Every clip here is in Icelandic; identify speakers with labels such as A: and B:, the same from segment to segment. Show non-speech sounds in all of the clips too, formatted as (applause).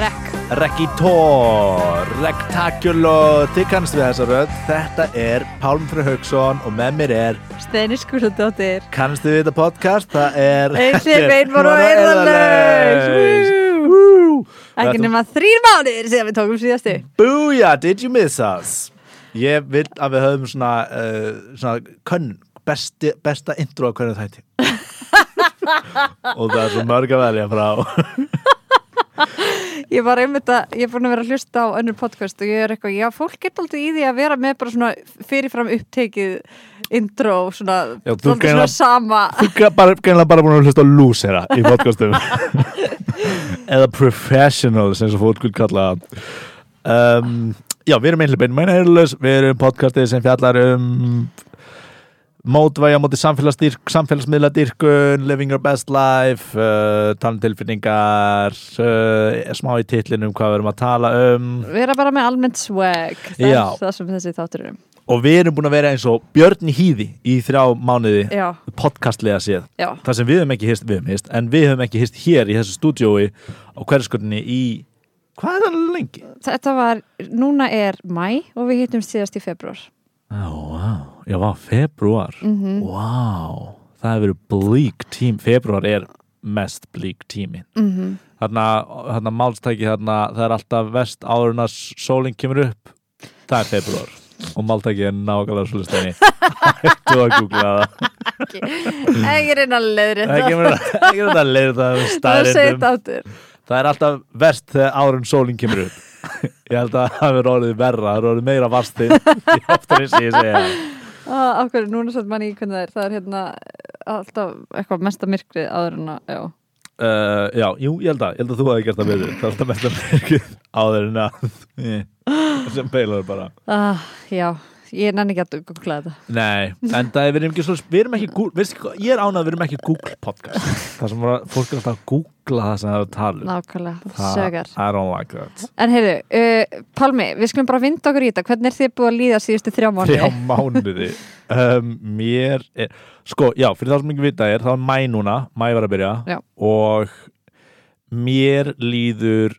A: Rekk
B: Rekitor, Rektakulo, þið kannast við þessa rödd. Þetta er Pálmfri Haugsson og með mér er
A: Steini Skúladóttir
B: Kannast þið við þetta podcast? Það er...
A: Einhver beinvar og
B: Eyrðalaus.
A: eirðalaus
B: Woo!
A: Ekki
B: Þetta-
A: nema þrýr mánuðir síðan við tókum síðastu
B: Booyah, did you miss us? Ég vil að við höfum svona, uh, svona könn, besti, besta intro að hvernig
A: (laughs)
B: þætti. og það er svo mörg að velja frá.
A: Ég var einmitt að, ég er búin að vera að hlusta á önnur podcast og ég er eitthvað, já fólk getur aldrei í því að vera með bara svona fyrirfram upptekið intro, svona,
B: Já, þú
A: svolítið
B: greinar-
A: svona sama
B: Þú er bara, gennilega bara búin að hlusta á lúsera í podcastum eða professionals eins og fólk vil kalla það um, Já, við erum einhlega beinu meina heyrðulegs, við erum podcastið sem fjallar um mótvæja móti samfélagsdýrk, samfélagsmiðladýrkun living your best life uh, talmtilfinningar uh, smá í titlinum hvað við erum að tala um
A: Vera bara með almennt swag, það
B: Já.
A: er það sem þessi þáttur er um
B: og við erum búin að vera eins og Björn í hýði í þrjá mánuði
A: Já,
B: podcastlega séð
A: já,
B: það sem við höfum ekki hist, við höfum hist en við höfum ekki hist hér í þessu stúdiói á hverjaskotinni í hvað er það lengi?
A: þetta var, núna er mæ og við hittum síðast í februar
B: Já, vá, já, vá, februar mm
A: Mhm,
B: -hmm. Vá, það hefur verið blík tím, februar er mest blík tímin
A: mm
B: þarna, þarna málstæki þarna, það er alltaf vest áður en að sólinn kemur upp það er februar og máltæki er nákvæmlega svo (laughs) listinni Hættu að googla það
A: Ekki reyna að leiðri
B: Það kemur Mhm. ekki þetta að leiða það um
A: Það
B: staðrindum
A: segir þetta áttur
B: Það er alltaf verst þegar árun sólinn kemur upp (laughs) Ég held að það er orðið verra, það er orðið meira vastið í oftar eins og ég segja það.
A: Ah, Af hverju, núna svolítið manni í hvernig það er Það er hérna alltaf eitthvað mesta myrkrið áður en að, já
B: uh, Já, jú, ég held að, ég held að þú hafi gert það betur Það er alltaf mest að merkið áður en að eh, (laughs) sem beilaður bara
A: ah, Já, ég nenni ekki að googla þetta
B: Nei, en það er, við erum ekki svo við erum ekki, Gú- veistu hvað, ég er ánað að við erum ekki Google podcast Það sem bara, fólk er alltaf að googla það sem það er að tala um.
A: Nákvæmlega,
B: Það-
A: sögar
B: I don't like that
A: En heyrðu, uh, Pálmi, við skulum bara vinda okkur í þetta Hvernig er þið búið að líða síðustu þrjá mánu?
B: þrjá mánuði um, mér er, sko, já, fyrir það sem ekki vita er, þá er mæ núna mæ var að byrja
A: Já.
B: og mér líður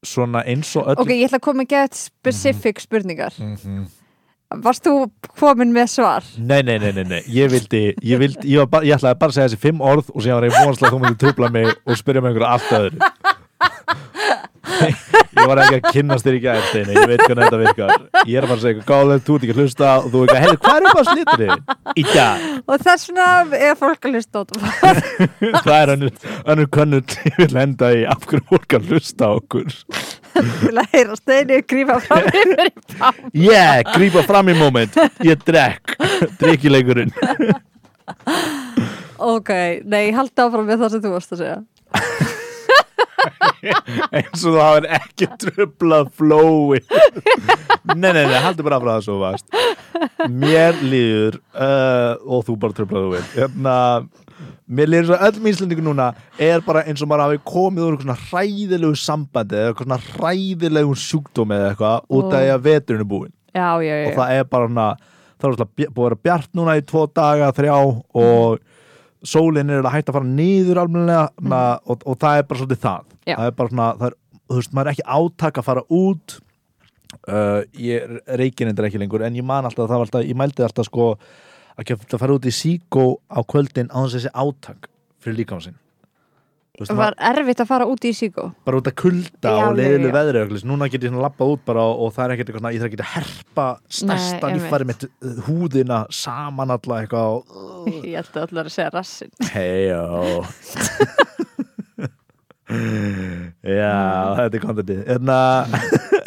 B: svona eins og öll
A: Ok, ég ætla að koma að geða specific spurningar
B: Mhm.
A: Varst þú komin með svar?
B: Nei, nei, nei, nei, nei, ég vildi, ég vildi, ég, var bara, ég ætlaði bara að segja þessi fimm orð og síðan var ég vonast að þú myndi trubla mig og spyrja mig um einhverju allt öðru. ég var ekki að kynnast þér í gær, Steini, ég veit hvernig þetta virkar. Ég er bara að segja eitthvað gáðlega, þú ert ekki að hlusta og þú er ekki að, heyrðu, hvað er upp á slítrið? Í dag.
A: Og þess vegna er fólk að hlusta á þetta
B: (laughs) það er önnur, önnur könnut ég vil enda í af hverju fólk að hlusta á okkur
A: til að heyra steinu grífa fram
B: (laughs)
A: yfir í pám
B: yeah, grípa fram í moment ég drekk, drikkileikurinn
A: Ok, nei, halda áfram með það sem þú varst að segja
B: eins og þú hafir ekki trublað flói nei, nei, nei, haldur bara frá það svo vast mér líður uh, og þú bara trublaðu við hérna, mér líður svo að öll mínslinningu núna er bara eins og maður hafi komið úr eitthvað svona hræðilegu sambandi eða eitthvað svona hræðilegu sjúkdómi eða eitthvað út af því að veturinn er búinn
A: Já, já, já, já.
B: og það er bara svona það er svona bj- búið að vera bjart núna í tvo daga, þrjá og sólin er að hætta að fara niður almennilega na, og, og það er bara svolítið það
A: Já.
B: það er bara svona, það er, þú veist, maður er ekki átak að fara út uh, ég reikin endur ekki lengur en ég man alltaf, að það var alltaf, ég mældi alltaf sko að geta fara út í síkó á kvöldin á þess að þessi átak fyrir líkam sinn Þú veist,
A: var erfitt að fara út í síkó
B: bara út að kulda
A: Já,
B: og leiðilu
A: já, já.
B: veðri og eitthvað svoleiðis. núna get ég svona labbað út bara og, og það er ekkert eitthvað svona, ég þarf ekki að herpa stærsta
A: Nei, einmitt.
B: líffæri mitt uh, húðina saman alla eitthvað og
A: Ég ætti allar að segja rassin
B: hejó já, þetta er kontentið en að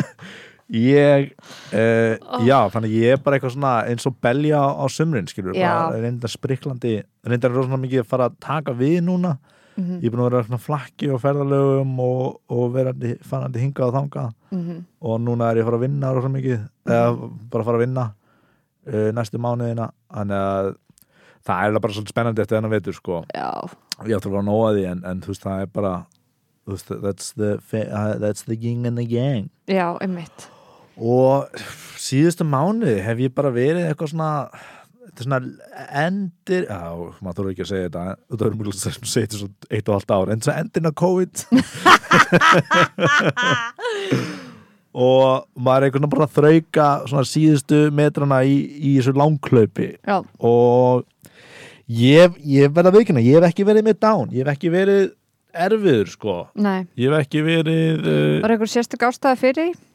B: (laughs) ég uh, já, þannig að ég er bara eitthvað svona eins og belja á, á sumrin skilur,
A: Já.
B: bara reynda spriklandi reynda rosalega mikið að fara að taka við núna ég er búin að vera svona flakki og ferðalögum og, og verandi farandi hingað og þangað og núna er ég að fara að vinna rosalega mikið eða bara að fara að vinna uh, næstu mánuðina þannig að það er eiginlega bara svolítið spennandi eftir þennan vetur sko
A: Já,
B: ég ætla að fara að nóa því en, en þú veist það er bara þú veist, that's, the, fa- uh, that's the yin and the yang
A: já, einmitt
B: og síðustu mánuði hef ég bara verið eitthvað svona þetta er svona endir já, maður þarf ekki að segja þetta þetta er mjög sem segja þetta svona eitt og halvt ár en svona endin á COVID (laughs) og maður er einhvern veginn bara að þrauka svona síðustu metrana í, í þessu langklaupi
A: já,
B: og ég, ég verð að veikina, ég hef ekki verið með down ég hef ekki verið erfiður sko
A: nei
B: ég hef ekki verið uh,
A: Var einhver sérstök ástæða fyrir því?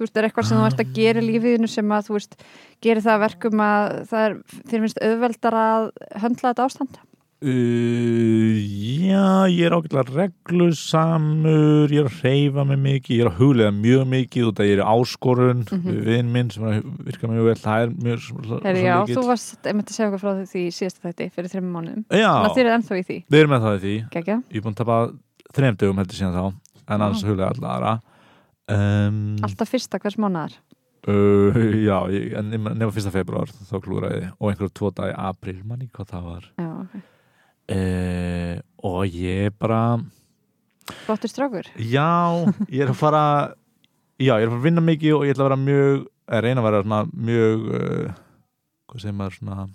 A: Þú veist, er eitthvað sem þú ert að gera í lífiðinu sem að, þú veist, gerir það að verkum að það er, þér finnst auðveldar að höndla þetta ástand?
B: Uh, já, ég er ágætlega reglusamur, ég er að hreyfa mig mikið, ég er að huglega mjög mikið út að ég er í áskorun, mm
A: Mhm.
B: vinn minn sem er að virka mjög vel, það er mjög
A: Heri, já, þú varst einmitt að segja eitthvað frá því- því í síðasta þætti fyrir þreymum mánuðum. Þannig að þér
B: Já,
A: er ennþá í því,
B: við erum með það í því
A: gegja?
B: ég er búin að tapa þrejum dögum heldur síðan þá, en annars
A: Já.
B: huglega alltaf aðra um,
A: Alltaf fyrsta hvers mánuðar.
B: (laughs) uh, Já, ég, en nema- nema fyrsta februar þá klúraði ég. og einhverjum tvo dag í april, manni hvað það var
A: Já, ok.
B: uh, og ég bara
A: Flottur strákur.
B: Já, ég er að fara Já, ég er að fara að vinna mikið og ég ætla að vera mjög að reyna að vera svona mjög uh, hvað segir maður svona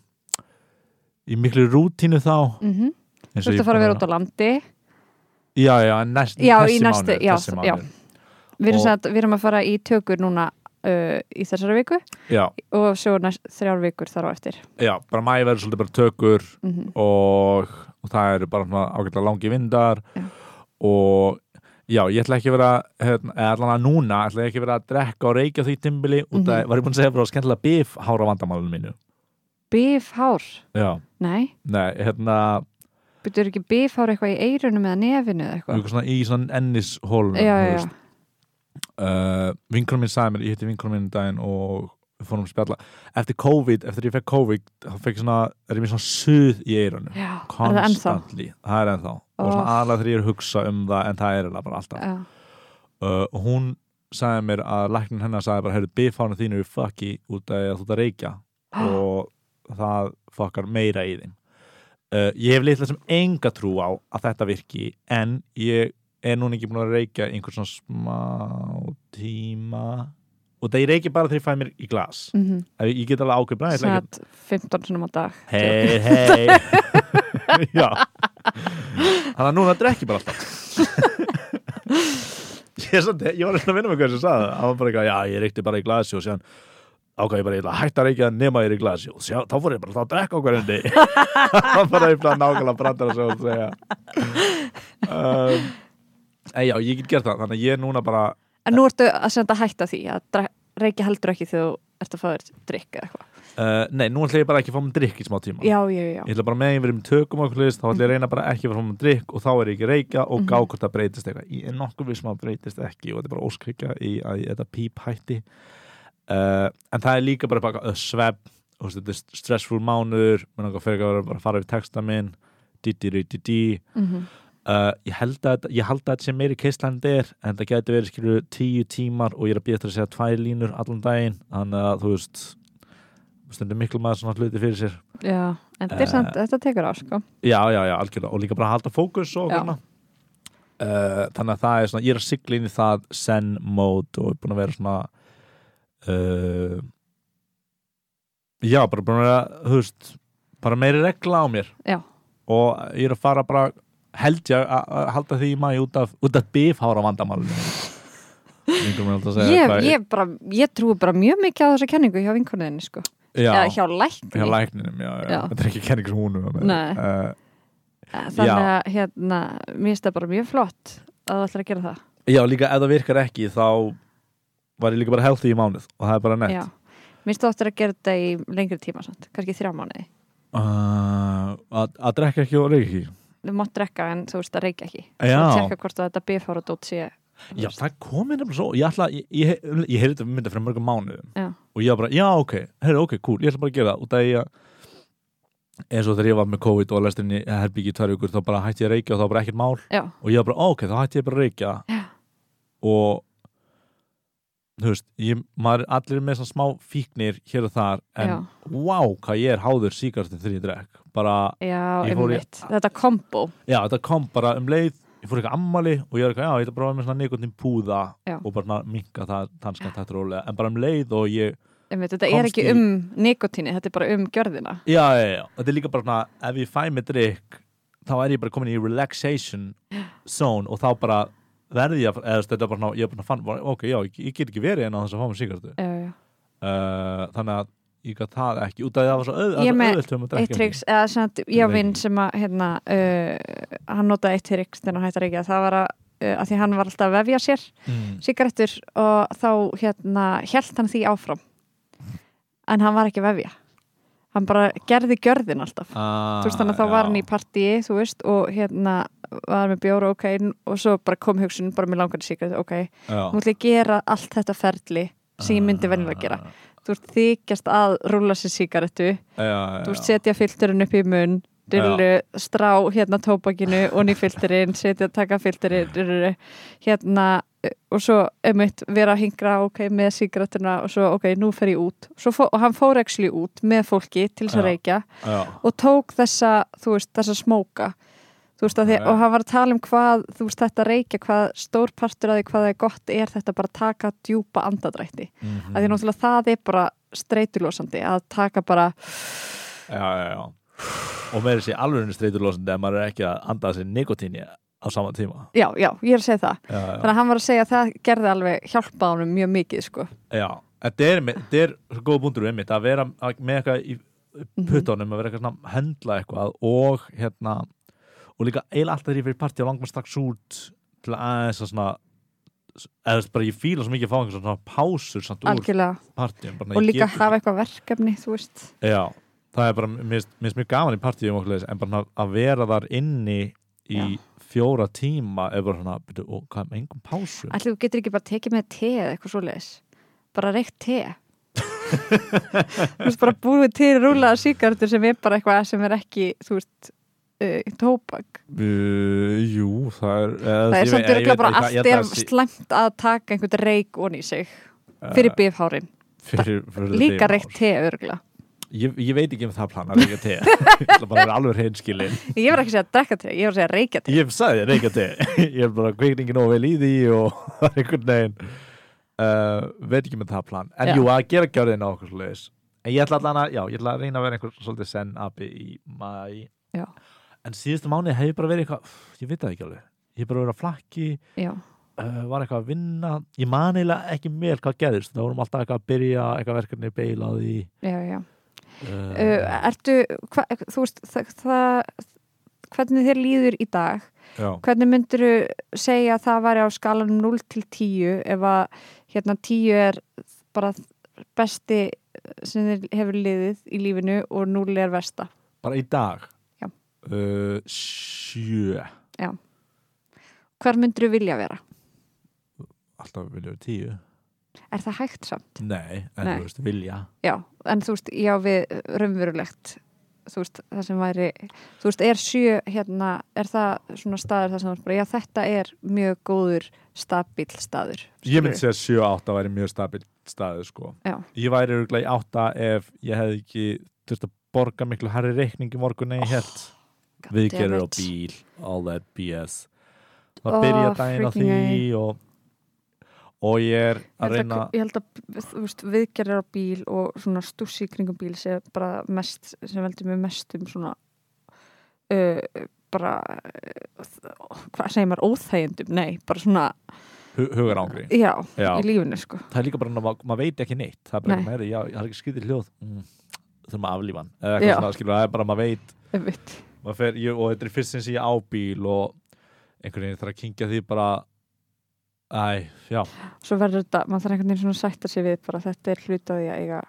B: í miklu rútínu þá
A: Mm Þú ert að fara að vera út á landi.
B: Já, já, en næst,
A: Já,
B: þessi
A: í næstu-
B: mánuð,
A: já,
B: þessi
A: já.
B: mánuð.
A: Við erum,
B: Og-
A: sagt, við erum að fara í tökur núna uh, í þessari viku
B: já,
A: og svo næst, þrjár vikur þar á eftir.
B: já, bara mæ verður svolítið bara tökur
A: Mm
B: og, og það eru bara svona ágætlega langi vindar
A: Já.
B: og já, ég ætla ekki að vera hérna, eða allan að núna, ætla ég ekki að vera að drekka og reykja því timbili út að,
A: Mhm.
B: var ég búin að segja frá skemmtilega bifhára vandamálinu mínu
A: Bifhár.
B: Já,
A: Nei.
B: nei, hérna
A: Byrjuður ekki bifhár eitthvað í eirunum eða nefinu eða eitthvað?
B: eitthvað svona í svona ennishólunum
A: Já, já, já.
B: uh, vinkonum minn sagði mér, ég hitti vinkonum minn um daginn og við fórum að spjalla eftir COVID, eftir ég fekk COVID þá fekk ég svona, er ég mér svona suð í eirunum
A: já. Er það ennþá?
B: konstantli, það er ennþá og
A: Oh.
B: svona aðlega þegar ég er að hugsa um það en það er eiginlega bara alltaf
A: Já.
B: uh, og hún sagði mér að læknin hennar sagði bara, heyrðu, bifánu þínu er fucki út af því að þú ert að reykja
A: Ah.
B: og það fokkar meira í þeim uh, ég hef litla sem enga trú á að þetta virki en ég er núna ekki búin að reykja í einhvern svona smá tíma og það ég reyki bara þegar ég fæ mér í glas
A: Mm -hmm.
B: Ef ég ég get alveg ákveð bara ég ætla ekki að-
A: Sæt 15 sinum á dag.
B: hei, hei (laughs) já þannig að núna drekki bara alltaf ég, er samt, ég var eitthvað að vinna með hvað sem sagði það var bara eitthvað, já, ég reykti bara í glasi og síðan ákvað ég bara, ég ætla að hætta að reykja nema ég er í glasi og sjá, þá fór ég bara þá að drekka okkur endi (laughs) það var bara eitthvað nákvæmlega brandar að segja, segja. Um, en já, ég get gert það þannig að ég er núna bara
A: En nú ertu að senda að hætta því að dra- reykja heldur ekki þegar þú ert að fá þér drikk eða eitthvað.
B: uh, nei, nú ætla ég bara ekki að fá mér drikk í smá tíma
A: Já, já, já.
B: ég ætla bara með ég verið með tökum og okkur list þá ætla ég að reyna bara ekki að fara fram að drikk og þá er ég ekki að reykja og gá hvort það breytist eitthvað ég er nokkuð við sem að breytist ekki og þetta er bara óskrykja í að ég- þetta píp hætti uh, en það er líka bara baka eh, svepp og þetta er stressful mánuður mér langar fyrir að vera bara að fara við texta minn di-di-ri-di-di
A: Mm
B: uh, ég held að þetta- ég held að þetta sem meiri keistlandi er en það getur verið skilur tíu tímar og ég er að býja eftir að segja tvær línur allan daginn þannig að þú veist stundum miklu maður svona hluti fyrir sér
A: Já, en þetta er
B: Eh.
A: samt, þetta tekur á, sko.
B: Já, já, já, algjörlega og líka bara halda fókus og
A: Já.
B: hvernig uh, þannig að það er svona, ég er að sigla inn í það zen mode og er búin að vera svona uh, já, bara búin að vera þú veist, bara meiri regla á mér
A: Já.
B: og ég er að fara bara held ég að- að halda því í maður út af, út af bifhára vandamálinu Einhver mér alltaf að segja
A: Ég,
B: hvað-
A: ég, bara, ég trúi bara mjög mikið á þessa kenningu hjá vinkoninni, sko.
B: já,
A: Eða hjá lækni.
B: hjá lækninum, já, já,
A: Já.
B: þetta er ekki kenning sem hún er með.
A: Nei.
B: Eh,
A: Þannig að, hérna, mér finnst það bara mjög flott að þú ætlar að gera það.
B: Já, líka ef það virkar ekki þá var ég líka bara healthy í mánuð og það er bara nett
A: Já. Mér finnst þú áttir að gera þetta í lengri tíma, samt. Kannski þrjá mánuði.
B: uh, að, að drekka ekki og reyka ekki
A: Þú mátt drekka en þú veist að reykja ekki.
B: Já.
A: Svo að tekka hvort að þetta bifára dót sé. þú
B: Já,
A: veist.
B: það komið nefnilega svo ég, ætla, ég, ég, ég, ég heyrði þetta mynda fyrir mörgum mánuðum
A: Já.
B: og ég var bara, já, ok, heyrðu, ok, cool ég ætla bara að gera það og það ég eins og þegar ég var með COVID og lestin í herbyggi í tvær vikur þá bara hætti ég að reykja og þá var bara ekkert mál
A: Já.
B: og ég var bara, ok, þá hætti ég bara að reykja
A: Já.
B: og þú veist, ég, maður er allir með svona smá fíknir hér og þar en
A: Já.
B: vá, hvað ég er háður síkartin þegar ég drekk bara,
A: Já,
B: Ég fór í-
A: einmitt. Þetta kombo.
B: já, þetta kom bara um leið ég fór eitthvað ammali og ég var eitthvað, já, ég ætla bara að vera með svona neikotin púða
A: Já.
B: og bara minka það tannskæmt hættur rólega en bara um leið og ég
A: einmitt, þetta er
B: Komst
A: ekki
B: í-
A: um nikotíni, þetta er bara um gjörðina
B: já, já, já, þetta er líka bara svona ef ég fæ mig drikk þá er ég bara komin í relaxation zone og þá bara verði ég að- eða þú veist, þetta er bara, svona- ég er bara fann, ok, já, ég, ég get ekki verið en á þess að fá mig sigartu
A: Já, já.
B: uh, þannig að ég gæti það ekki út af því að það var svo auð-
A: Ég er með
B: auðvelt um að drekka
A: eitt
B: ekki.
A: triks, eða sem að ég á
B: Nei.
A: vinn sem að hérna, uh, hann notaði eitt triks þegar hann hættar ekki að það var að, uh, að því hann var alltaf að vefja sér
B: mm.
A: sigarettur og þá hérna held hann því áfram en hann var ekki að vefja hann bara gerði gjörðin alltaf
B: ah,
A: þú veist þannig að þá var hann í partíi þú veist og hérna var með bjóra ok og svo bara kom hugsun bara með langar sigarettu ok, nú
B: já,
A: ætla ég að gera allt þetta ferli sem ég myndi venjulega gera
B: Ah.
A: þú veist þykjast að rúla sér sigarettu
B: já, já,
A: þú veist setja filterinn upp í munn dyrru, strá hérna tóbakinu og ný filterinn, setja taka filterinn dyrru, hérna eh, og svo einmitt vera að hingra ok, með sigrættuna og svo ok, nú fer ég út Svo fó, og hann fór actually út með fólki til þess að
B: Já.
A: reykja
B: já,
A: og tók þessa, þú veist, þessa smóka þú veist að því,
B: Já.
A: og hann var að tala um hvað, þú veist, þetta reykja, hvað stór partur að því hvað það er gott er þetta bara að taka djúpa andadrætti,
B: mm
A: mm. að því náttúrulega það er bara streitulosandi, að taka bara
B: já, já, já og með þessi alveg streyturlósandi að maður er ekki að anda þessi nikotíni á sama tíma
A: já, já, ég er að segja það
B: já, já,
A: þannig að hann var að segja að það gerði alveg hjálpað honum mjög mikið sko
B: já. þetta er, einmitt- þetta er svo góð búndur um mitt að vera að- með eitthvað í
A: Mhm.
B: puttunum að vera eitthvað svona að höndla eitthvað og hérna og líka eiginlega alltaf þegar ég fyrir partí og langar mig strax út til aðeins að svona eða þú veist, bara ég fíla svo mikið að fá einhver svona pásur samt úr
A: algjörlega
B: partíum bara,
A: og
B: ég
A: líka
B: get-
A: hafa eitthvað verkefni þú veist,
B: Já, það er bara, mér finnst- mér finnst mjög gaman í partíum okkur leis, en bara svona að vera þar inni
A: Já.
B: í fjóra tíma er bara svona, byrju, og hvað er með engum pásu?
A: allir þú getur ekki bara tekið með te eða eitthvað svoleiðis, bara reykt te þú veist bara búið til rúlaða síkartur sem er bara eitthvað sem er ekki þú veist, uh, tóbak
B: Uh, jú, það er eða,
A: það
B: ég
A: er samt
B: veit- ég
A: örgulega
B: veit-
A: bara
B: ég- ég-
A: allt
B: ég-
A: er
B: ég-
A: slæmt að taka einhvern reyk onni í sig fyrir bifhárin,
B: fyrir, fyrir
A: líka
B: þig,
A: reykt
B: Már.
A: te örgulega
B: ég, ég veit ekki um það planar reyka te (laughs) Ég ætla bara að vera alveg hreinskilin
A: ég var ekki að segja að drekka te, ég var að segja að reyka te
B: Ég sagði reyka te Ég er bara kveikningi nóg vel í því og (laughs) það er einhvern veginn uh, veit ekki með það plan
A: Já.
B: En jú, að gera gjörðin á okkur svoleiðis En ég ætla allan að, já, ég ætla að reyna að vera einhver svolítið senn api í mæ
A: Já.
B: En síðustu mánuði hef ég bara verið eitthvað pff, Ég veit það ekki alveg Ég hef bara verið að flakki,
A: já,
B: uh, var eitthvað að vinna Ég man eiginlega ekki mér hvað gerðist Það vorum alltaf eitthvað að byrja, eitthvað verkefni beila á því
A: já, já
B: uh,
A: uh, ertu, hva, þú veist það, það, hvernig þér líður í dag
B: Já,
A: hvernig myndiru segja að það væri á skalanum 0 til 10 ef að hérna 10 er bara besti sem þér hefur liðið í lífinu og 0 er versta
B: bara í dag
A: Já.
B: uh, Sjö
A: hvar myndiru vilja vera?
B: Alltaf viljum við tíu
A: Er það hægt samt?
B: Nei, en
A: Nei.
B: þú veist, vilja
A: Já, en þú veist, já við raunverulegt þú veist, það sem væri þú veist, er sjö hérna er það svona staður það sem þú veist bara já þetta er mjög góður stabíl staður
B: Ég myndi segja að 7-8 væri mjög stabil staðið sko
A: Já.
B: Ég væri örgulega í 8 ef ég hefði ekki þurft að borga miklu herri reikning í morgun en ég held
A: Oh, God
B: Við
A: damn
B: gerum á
A: it.
B: bíl, all that BS
A: Oh,
B: Það byrja daginn á
A: freaking
B: því og, og ég er
A: Ég
B: að
A: held
B: reyna
A: Ég held að þú veist, viðgerðar á bíl og svona stússi í kringum bíl sem bara mest, sem veldur mér mest um svona uh, bara uh, hvað segir maður, óþægjendum, nei bara svona,
B: hu hugar ángri
A: já,
B: Já,
A: í lífinu sko
B: það er líka bara, ná- maður veit ekki neitt Það er bara,
A: Nei.
B: Nei. Meiri, já, ég har ekki skrítið hljóð mm, þurfum að aflífa hann eða
A: Já.
B: eitthvað svona, skilur, það er bara, maður veit
A: einmitt.
B: Maður fer, ég, og þetta er fyrst sinns ég á bíl og einhvern veginn þarf að kynkja því bara Æ, já,
A: svo verður þetta, maður þarf einhvern veginn svona að sætta sig við bara þetta er hluti af því að eiga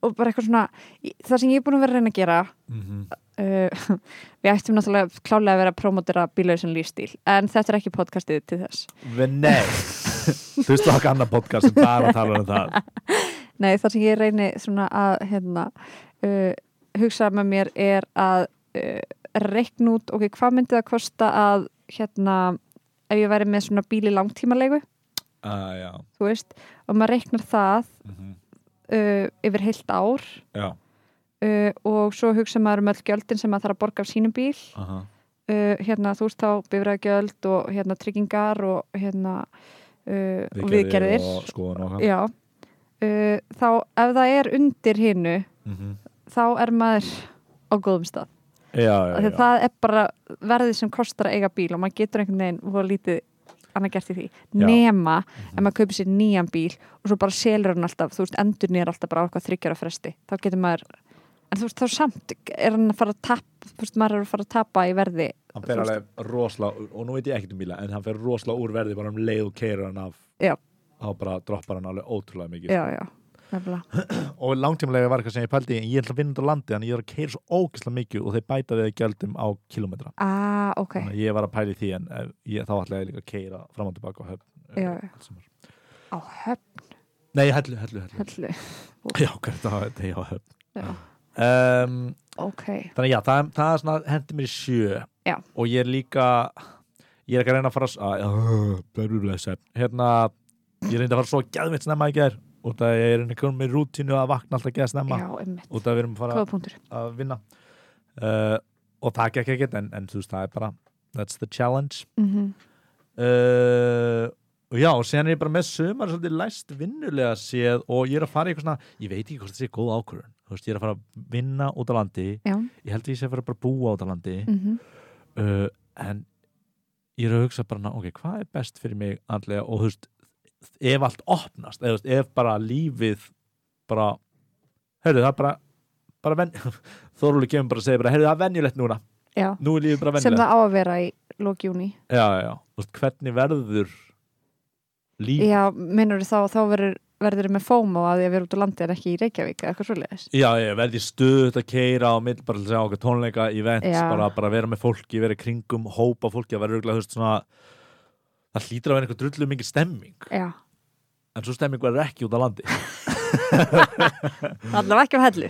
A: og bara eitthvað svona, í- það sem ég er búin að vera að reyna að gera
B: mm
A: uh, (laughs) við ættum náttúrulega klálega að vera að promotera bílausin lífstíl, en þetta er ekki podcastið til þess
B: Við (laughs) nei Þú veist okkar annar podcast sem bara talar um það
A: Nei, það sem ég reyni svona að hérna, uh, hugsa með mér er að uh, reikna út, ok, hvað myndi það kosta að hérna, ef ég væri með svona bíli langtímalegu,
B: uh, Já,
A: þú veist, og maður reiknar það
B: mm
A: uh, yfir heilt ár
B: já
A: uh, og svo hugsa maður um öll gjöldin sem maður þarf að borga af sínum bíl,
B: uh -huh.
A: uh, hérna, þú veist þá bifræðgjöld og hérna tryggingar og hérna uh, og viðgerðir
B: og skoðun og hvað
A: Já, uh, þá ef það er undir hinnu
B: mm -hmm.
A: þá er maður á góðum stað
B: já, já,
A: Af því
B: já.
A: að það er bara verðið sem kostar að eiga bíl og maður getur einhvern veginn og lítið annað gert í því
B: Já. Mhm.
A: nema ef maður kaupir sér nýjan bíl og svo bara selur hann alltaf, þú veist, endur nýjar alltaf bara á eitthvað þryggjara fresti, þá getur maður en þú veist, þá samt er hann að fara að tap þú veist, maður er að fara að tapa í verði
B: hann
A: þú
B: fer
A: veist.
B: alveg rosla og nú veit ég ekkert um bíla en hann fer rosla úr verði bara um leið og keirur hann af
A: Já.
B: þá bara droppar hann alveg ótrúlega mikið
A: já, já, nefnilega
B: og langtímulega var eitthvað sem ég pældi í, en ég ætla að vinna út á landi þannig ég er að keira svo ógeðslega mikið og þeir bæta við gældum á kilometra
A: ah, ok,
B: þannig að ég var að pæli því en eh, ég, þá ætla ég líka að keira fram og tilbaka eh, og höf,
A: Já, já. á höfn
B: Nei, hellu, hellu, hellu.
A: hellu.
B: Já, ok, það var þetta, já, höf.
A: Já.
B: Um,
A: ok,
B: þannig að já, það, það er svona, hendi mér í sjö
A: Já.
B: og ég er líka ég er ekki að reyna að fara að, að blablabla, svefn, hérna ég reyndi að fara svo geðvitt snemma í gær út að ég er einhvern veginn með rútínu að vakna alltaf geða snemma
A: já, einmitt
B: út að við erum að fara
A: góða punktur,
B: að vinna uh, og það gekk ekkert en, en þú veist það er bara that's the challenge
A: mm
B: uh, og já og síðan er ég bara með sumar svolítið læst vinnulega séð og ég er að fara í eitthvað svona ég veit ekki hvort það sé góð ákvörðun þú veist ég er að fara að vinna út á landi
A: já
B: ég held að ég sé að fara bara að búa út á landi
A: mm -hmm.
B: uh, en ég er að hugsa bara na, ok hvað er best fyrir mig andlega og þú veist ef allt opnast eða þú veist, ef bara lífið bara heyrðu það er bara bara venn (laughs) Þorúlu kemur bara að segja bara heyrðu það er venjulegt núna
A: já,
B: nú er lífið bara
A: sem
B: venjulegt
A: það á að vera í lók júni
B: já, já, já. Þú veist, hvernig verður líf já.
A: Já, minnur þá, þá verður verður með FOMO að því að vera út á landi en ekki í Reykjavík eða eitthvað svoleiðis
B: Já, ég verði stuðt að keira og mitt bara til að segja okkur tónleika, events,
A: Já.
B: bara, bara vera með fólki, vera í kringum, hópa fólki, að vera auðvitað, þú veist, svona, það hlýtur að vera einhver drullu mikið stemming,
A: Já,
B: en svo stemming verður ekki út á
A: (laughs)
B: landi.
A: allavega ekki á hellu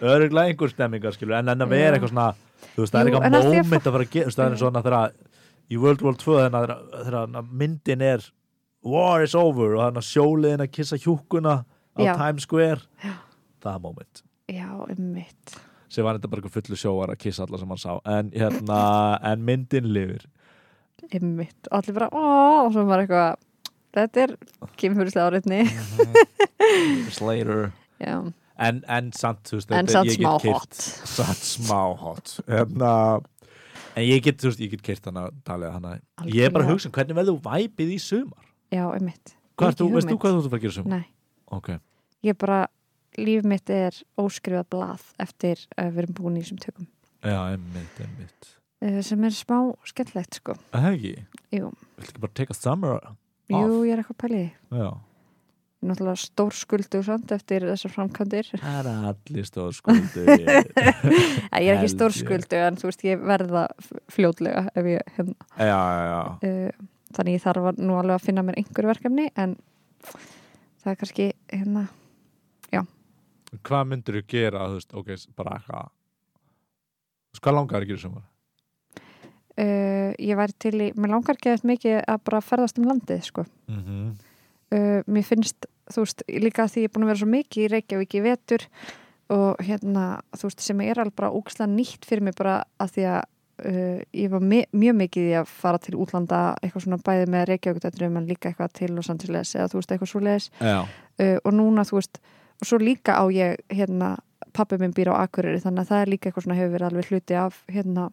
B: öruglega einhver stemmingar skilur en en að
A: Já.
B: vera eitthvað svona þú veist, það er
A: Jú,
B: eitthvað
A: en að því að
B: moment að fara að gera þú veist, það er svona þegar í World War 2 þegar- þegar þegar myndin er war is over og þannig að sjóliðin að kissa hjúkuna á
A: Já.
B: Times Square það er moment
A: (laughs) Já, ummitt
B: sem var þetta bara eitthvað fullu sjóar að kissa alla sem hann sá en, hérna, en myndin lifir
A: Ummitt, og allir bara ó, og svo var eitthvað Þetta er kemurfyrslega
B: (laughs)
A: áriðni
B: Slater
A: Já,
B: en, en samt, þú veist,
A: en
B: þetta-
A: satt
B: ég get
A: smá
B: keypt-
A: hot
B: satt smá hot hérna, en ég get, þú veist, ég get kert hana talið hana, ég er bara að hugsa um hvernig verður væpið í sumar
A: Já, ummitt
B: hvað ert þú, veist þú hvað þú ert að fara að gera í sumar?
A: Nei,
B: ok,
A: ég bara, líf mitt er óskrifað blað eftir að við erum búin í þessum tökum
B: já, einmitt, einmitt
A: Eh, sem er smá skemmtlegt sko
B: er það ekki?
A: Jú.
B: viltu ekki bara take a summer?
A: Jú, ég er eitthvað pæliði
B: já,
A: Náttúrulega stór skuldu samt eftir þessar framkvæmdir
B: það er allir stóð skuldur
A: (laughs) Æ, Ég er
B: Held
A: ekki
B: ég.
A: stórskuldu en þú veist ég verða f- fljótlega ef ég, hérna,
B: já, já, já
A: uh, þannig ég þarf að- nú alveg að finna mér einhver verkefni en það er kannski hérna,
B: hvað myndir þú gera, þú veist, ok, bara eitthvað Þú veist, hvað langar þér að gera í sumar?
A: uh, ég væri til í, mér langar ekki eftir mikið að bara ferðast um landið sko.
B: Mm -hmm.
A: uh, mér finnst þú veist líka því ég er búin að vera svo mikið í Reykjavík í vetur og hérna þú veist sem er alveg bara úksla nýtt fyrir mig bara að því að uh, ég var me mjög mikið í að fara til útlanda eitthvað svona bæði með Reykjavík en líka eitthvað til og samtilegis eða þú veist eitthvað svo
B: já,
A: uh, og núna þú veist og svo líka á ég hérna pappi minn býr á Akureyri þannig að það er líka eitthvað svona hefur verið alveg hluti af hérna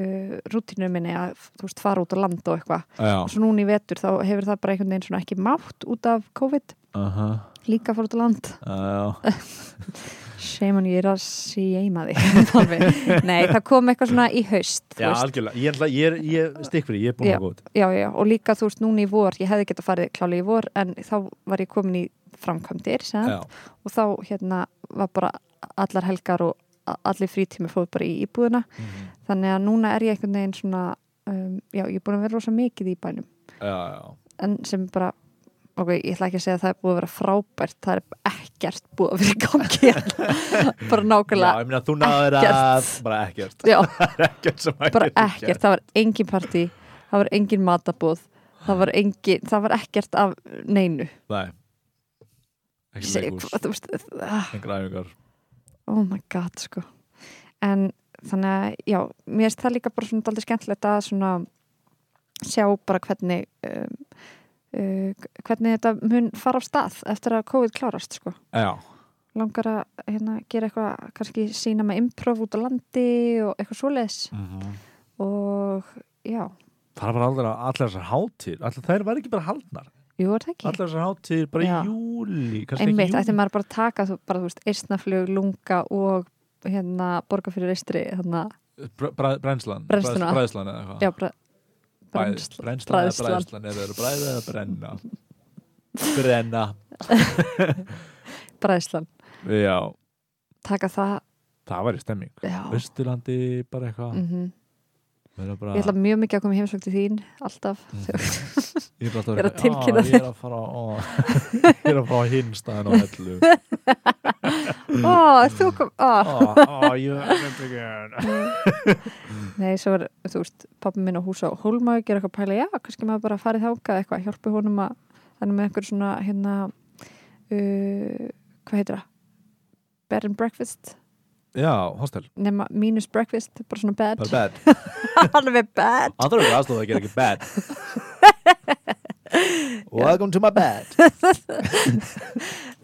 A: uh, rútinu minni að þú veist fara út á land og eitthvað
B: já,
A: og svo núna í vetur þá hefur það bara einhvern veginn svona ekki mátt út af COVID
B: aha,
A: líka fara út á land
B: já
A: shame on you, ég er að séma (laughs) þig Alveg. nei, það kom eitthvað svona í haust þú
B: já,
A: veist.
B: algjörlega, ég, ætla- ég, er- ég stikk fyrir, ég er búin að góð
A: já, já, og líka þú veist núna í vor ég hefði getað farið klálega í vor en þá var ég komin í framkvæmdir sem
B: já,
A: og þá hérna var bara allar helgar og a- allir frítími fóð bara í íbúðina
B: Mhm.
A: þannig að núna er ég einhvern veginn svona um, já, ég er búin að vera rosa mikið í bænum
B: já, já
A: en sem bara ok, ég ætla ekki að segja að það er búið að vera frábært það er ekkert búið að vera í gangi hérna. (laughs) bara
B: Já,
A: nákvæmlega
B: ég meina þú náður að
A: Ekkert.
B: bara ekkert,
A: já,
B: (laughs) ekkert sem að
A: bara
B: geta
A: ekkert, það var engin partí það var engin matabóð það var, engin, það var ekkert af neinu
B: Nei, ekki
A: Seg-
B: leikus,
A: þú veist, ah,
B: engra æfingar
A: oh my god sko en þannig að já, mér finnst það líka bara svona daldið skemmtilegt að svona sjá bara hvernig um, uh, hvernig þetta mun fara af stað eftir að COVID klárast sko.
B: já,
A: langar að hérna, gera eitthvað kannski sína með improv út á landi og eitthvað svoleiðis og já,
B: það var aldrei allar þessar hátir allar þær var ekki bara haldnar
A: jú er það ekki
B: allar þessar hátir bara
A: Já.
B: í júli kannski
A: einmitt,
B: ekki
A: ætti
B: júli
A: maður bara að taka þú, bara, þú veist, eistnaflug, lunga og hérna, borga fyrir eistri hérna,
B: Br- bræ- brænslan
A: Brennsluna.
B: bræðslan eða eitthvað
A: já, bara
B: Bræðs-
A: brennsla-
B: brænslan eða
A: bræðslan.
B: bræðslan eða eru bræðið eða
A: (laughs)
B: brenna brenna
A: bræðslan,
B: já,
A: taka það
B: það var í stemming
A: já,
B: Östurlandi bara eitthvað
A: mm
B: Vera bara,
A: ég ætla mjög mikið að koma í heimsókn til þín
B: (clears throat)
A: alltaf,
B: ég er, bara
A: ég er að
B: alltaf eitthvað,
A: tilkynna
B: "Ah, ég er að fara á,
A: (laughs)
B: ég er að fara á hinn staðin á hellu
A: ó, ert þú kom ó,
B: (laughs) Á, á, ég veit ekki.
A: Nei, svo var, þú veist, pappi minn á hús á Hólmaug gera eitthvað pæla, já, kannski maður bara farið þákað eitthvað, hjálpi honum að þannig með einhver svona, hérna uh, hvað heitir það? Bed and breakfast,
B: já, hostel,
A: nema mínus breakfast bara svona bed,
B: bara bad
A: (laughs) alveg bed
B: Andra eru aðstofa að gera ekki
A: (laughs)
B: bad Welcome to my bad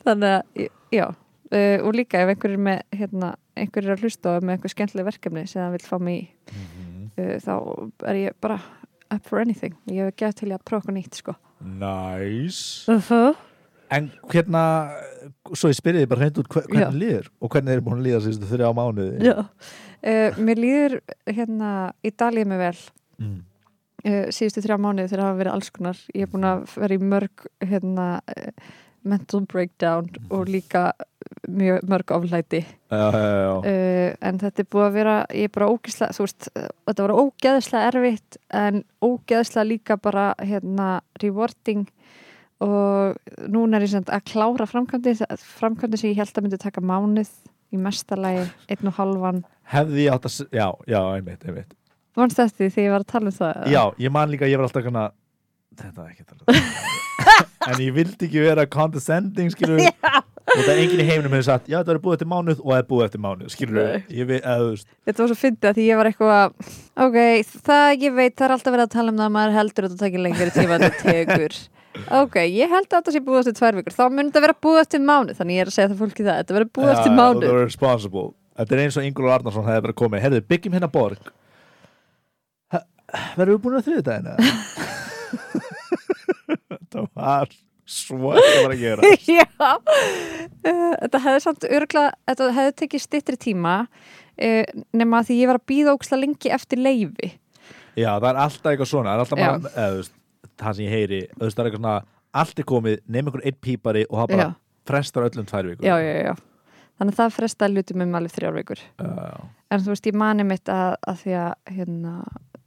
A: þannig að, já uh, og líka ef einhver er með, hérna einhver er að hlusta á með einhver skemmtileg verkefni sem hann vil fá mig í,
B: Mhm.
A: uh, þá er ég bara up for anything ég hef ekki að til í að prófa okkur nýtt, sko
B: Nice
A: uh -huh.
B: En hérna, svo ég spyrir þið bara hreint út hver-
A: Já.
B: hvernig líður og hvernig þeir eru búin að líða sérstu þurri á mánuði
A: Já. Uh, mér líður hérna í dalið mig vel
B: mm.
A: uh, síðustu þrjá mánuði þegar hafa verið alls konar ég er búin að vera í mörg hérna, uh, mental breakdown og líka mjög mörg oflæti
B: Já, já, já, já
A: uh, en þetta er búið að vera ég er bara ógeðslega, þú veist, uh, þetta var ógeðslega erfitt en ógeðslega líka bara hérna rewarding og núna er ég samt að klára framkvæmdi framkvæmdi sem ég held að myndi taka mánuð í mesta lagi, einn og halvan
B: Hefði ég átt að, s- já, já, einmitt, einmitt
A: Vannst eftir því þegar ég var að tala um það? eða?
B: Já, ég man líka, að ég var alltaf kannar Þetta er ekki talað
A: (laughs)
B: En ég vildi ekki vera condescending skilur við Og það er enginn í heiminum hefur sagt Já, þetta er búið eftir mánuð og það er búið eftir mánuð Skilur
A: Nei.
B: við, ég við, eða þú veist
A: Þetta var svo fyndið að því ég var eitthvað Ok, það ég veit, það er alltaf verið að tala um það að maður heldur að þetta takir lengri tíma en þetta tekur Ok, ég held að þetta sé búið eftir tvær vikur þá mun þetta vera búið eftir mánuð þannig ég er að segja það fólki það, þetta verður búið
B: Já,
A: eftir (laughs)
B: já,
A: mánuð
B: Þú er responsible Þetta er eins og Ingúl Arnarsson hefði verið komið Herðu, byggjum hérna borg Ha- Verðum við búin að þriðu (laughs) dagina? Þetta var svo ekki bara
A: (laughs)
B: að gera
A: Já, Eh, þetta hefði samt örgla, þetta hefði tekið stittri tíma eh, nema að því ég var að býða óksla lengi eftir leifi
B: Já, það er alltaf eitthvað svona Það er alltaf
A: Já.
B: bara, eða, þú veist, það sem ég heyri eða, þú veist, Það er eitthvað svona, allt er komið Nefn einhver einn pípari og það bara
A: Já.
B: frestar öllum tvær vikur
A: Já, já, já, já. Þannig að það frestaði lutum um alveg þrjár vikur
B: já.
A: en þú veist, ég mani mitt að, að því að hérna,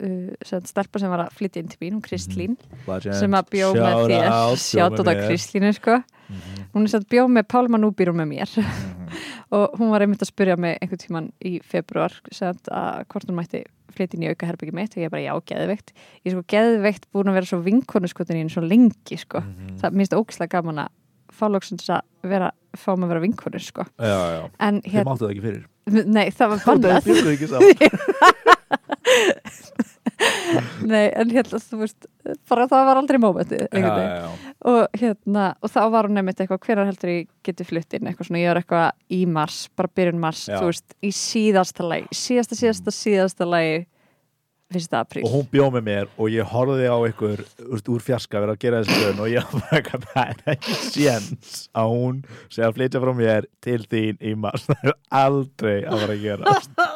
A: uh, sem stelpa sem var að flytja inn til mín, hún Kristlín
B: Legend.
A: sem að bjó með
B: Mhm. Shout
A: þér
B: out,
A: sjátt á
B: bjó með
A: það
B: mér. Mhm.
A: Kristlínu sko hún er satt bjó með Pálma Núbýrum með mér (laughs) og hún var einmitt að spyrja mig einhvern tíman í februar satt að hvort hún mætti flytja inn í auka herbyggi mitt og ég bara já, geðveikt ég er sko geðveikt búin að vera svo vinkonu skotin í henni svo lengi sko
B: Mhm.
A: það minnst ógislega gaman að fá lóksins að vera, fá maður að vera vinkonu sko
B: Já, já,
A: en
B: þið
A: hérna,
B: máttu það ekki fyrir
A: nei það var
B: Það
A: bannað
B: bjó ekki saman
A: Nei, en hérna, þú veist, bara það var aldrei mómentið,
B: Já,
A: (laughs) einhvern veginn.
B: já, já.
A: Og hérna, og þá var hún nefnt eitthvað, hverjar heldur ég geti flutt inn, eitthvað svona, ég er eitthvað í mars, bara byrjun mars,
B: Já. Mm.
A: þú veist, í síðasta lagi, síðasta, síðasta, síðasta lagi, fyrsta apríl.
B: og hún bjóð með mér og ég horfði á ykkur úst, úr fjarska verið að gera þessi hlun og ég bara eitthvað, það er ekki séns að hún sé að flytja frá mér til þín í mars (laughs) það er aldrei að vera að gera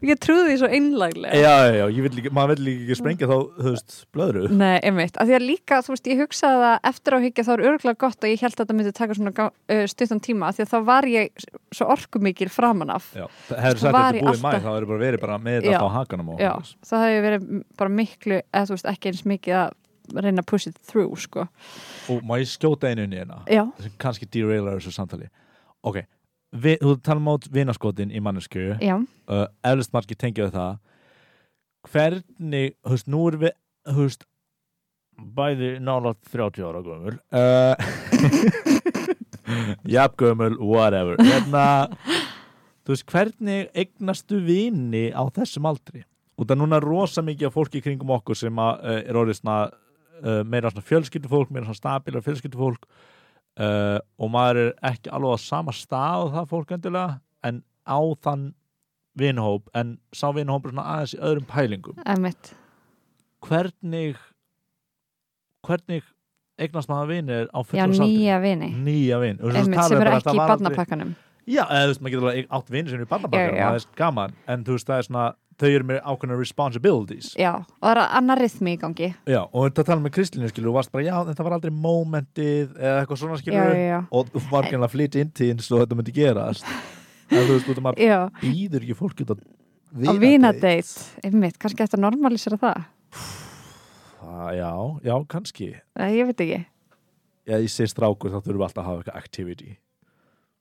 A: Ég trúði því svo einlaglega.
B: já, já, já, ég vil líka, maður vil líka ekki sprengja þá, þú veist, blöðru
A: Nei, einmitt, af því að líka, þú veist, ég hugsaði að eftir áhyggja þá er örgulega gott og ég held að þetta myndi taka svona gá- uh, stuttan tíma af því að þá var ég svo orkumikil framan af
B: já, það hefur
A: Sko,
B: sagt
A: var
B: þetta
A: í
B: búið í mæ
A: alltaf-
B: þá hefur bara verið bara með
A: Já.
B: þetta á hakanum á
A: Já,
B: honum.
A: það hefur verið m- bara miklu, eða þú veist, ekki eins mikið að reyna að push it through, sko.
B: og má ég skjóta einu inn í hérna
A: Já,
B: sem kannski derailar þessu samtali ok, Vi, þú talar mát um vinaskotin í mannesku
A: já,
B: uh, eflust margir tengja við það hvernig, þú veist, nú erum við þú veist, bæði nálátt 30 ára gömul uh, (laughs) jafn gömul, whatever hérna, þú veist, hvernig eignastu vini á þessum aldri og það er núna rosa mikið af fólki í kringum okkur sem að, uh, er orðið svona uh, meira svona fjölskyldufólk, meira svona stabílar fjölskyldufólk uh, og maður er ekki alveg á sama stað og það fólk endilega en á þann vinhóp en sá vinhóp er svona aðeins í öðrum pælingum
A: Emmitt,
B: hvernig hvernig eignast maður vinir á
A: já
B: fullum
A: nýja vini
B: nýja vin Og svo
A: Emmitt
B: talaðu
A: sem eru
B: bara að
A: ekki
B: það
A: í
B: var aldrei-
A: barnapakkanum
B: Já, eða þú veist, maður getur alveg átt vinir sem eru í
A: Já,
B: barnabakar
A: já.
B: það er gaman, en þú veist, það er svona þau eru með ákveðna responsibilities
A: Já, og það er annar rithmi í gangi
B: Já, og þetta tala með Kristlínu, skilur, þú varst bara já, en það var aldrei momentið eða eitthvað svona,
A: Já,
B: skilur
A: já, já,
B: og þú var genið að flytja inn til eins og þetta myndi
A: (laughs)
B: gerast en þú veist, út að maður
A: já.
B: býður ekki fólk út
A: Á
B: að
A: vínadeit, einmitt, kannski eftir að normalisera það
B: Það- Já, já, kannski
A: Nei, ég veit ekki
B: Já, ég sé strákur, þá þurfum við alltaf að hafa eitthvað activity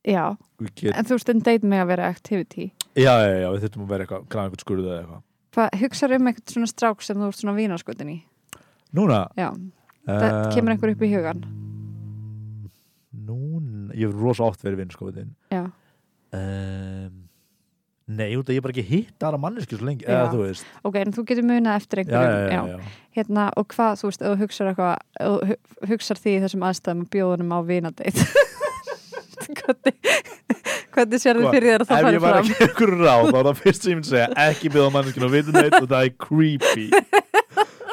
A: Já,
B: Við get,
A: en þú veist en deit mig að vera activity
B: já, já, já, við þurfum að vera eitthvað græða einhvern skurðu eða eitthvað
A: Hvað, hugsaðu um eitthvað svona strák sem þú ert svona vínaskutin í
B: Núna,
A: Já, það kemur einhver upp í hugan
B: Ehm, Núna, ég hef rosa oft verið vinn sko við þinn
A: Já,
B: um, Nei, út að ég hef bara ekki hitt aðra manneski svo lengi,
A: Já.
B: eða þú veist
A: ok, en þú getur munað eftir
B: Já, já,
A: einhverjum
B: já, já, já.
A: Hérna, og hvað, þú veist, ef þú hugsar eitthvað ef þú hu- hugsar því í þessum aðstæðum að bjóðunum á vínadeit (laughs) Hvernig hvernig sér þið
B: Sko,
A: fyrir þér að það
B: Ef
A: fari
B: ég var
A: fram
B: ekki einhver ráð, þá var það fyrst sem ég myndi segja ekki byggða manneskinu að vita neitt og það er creepy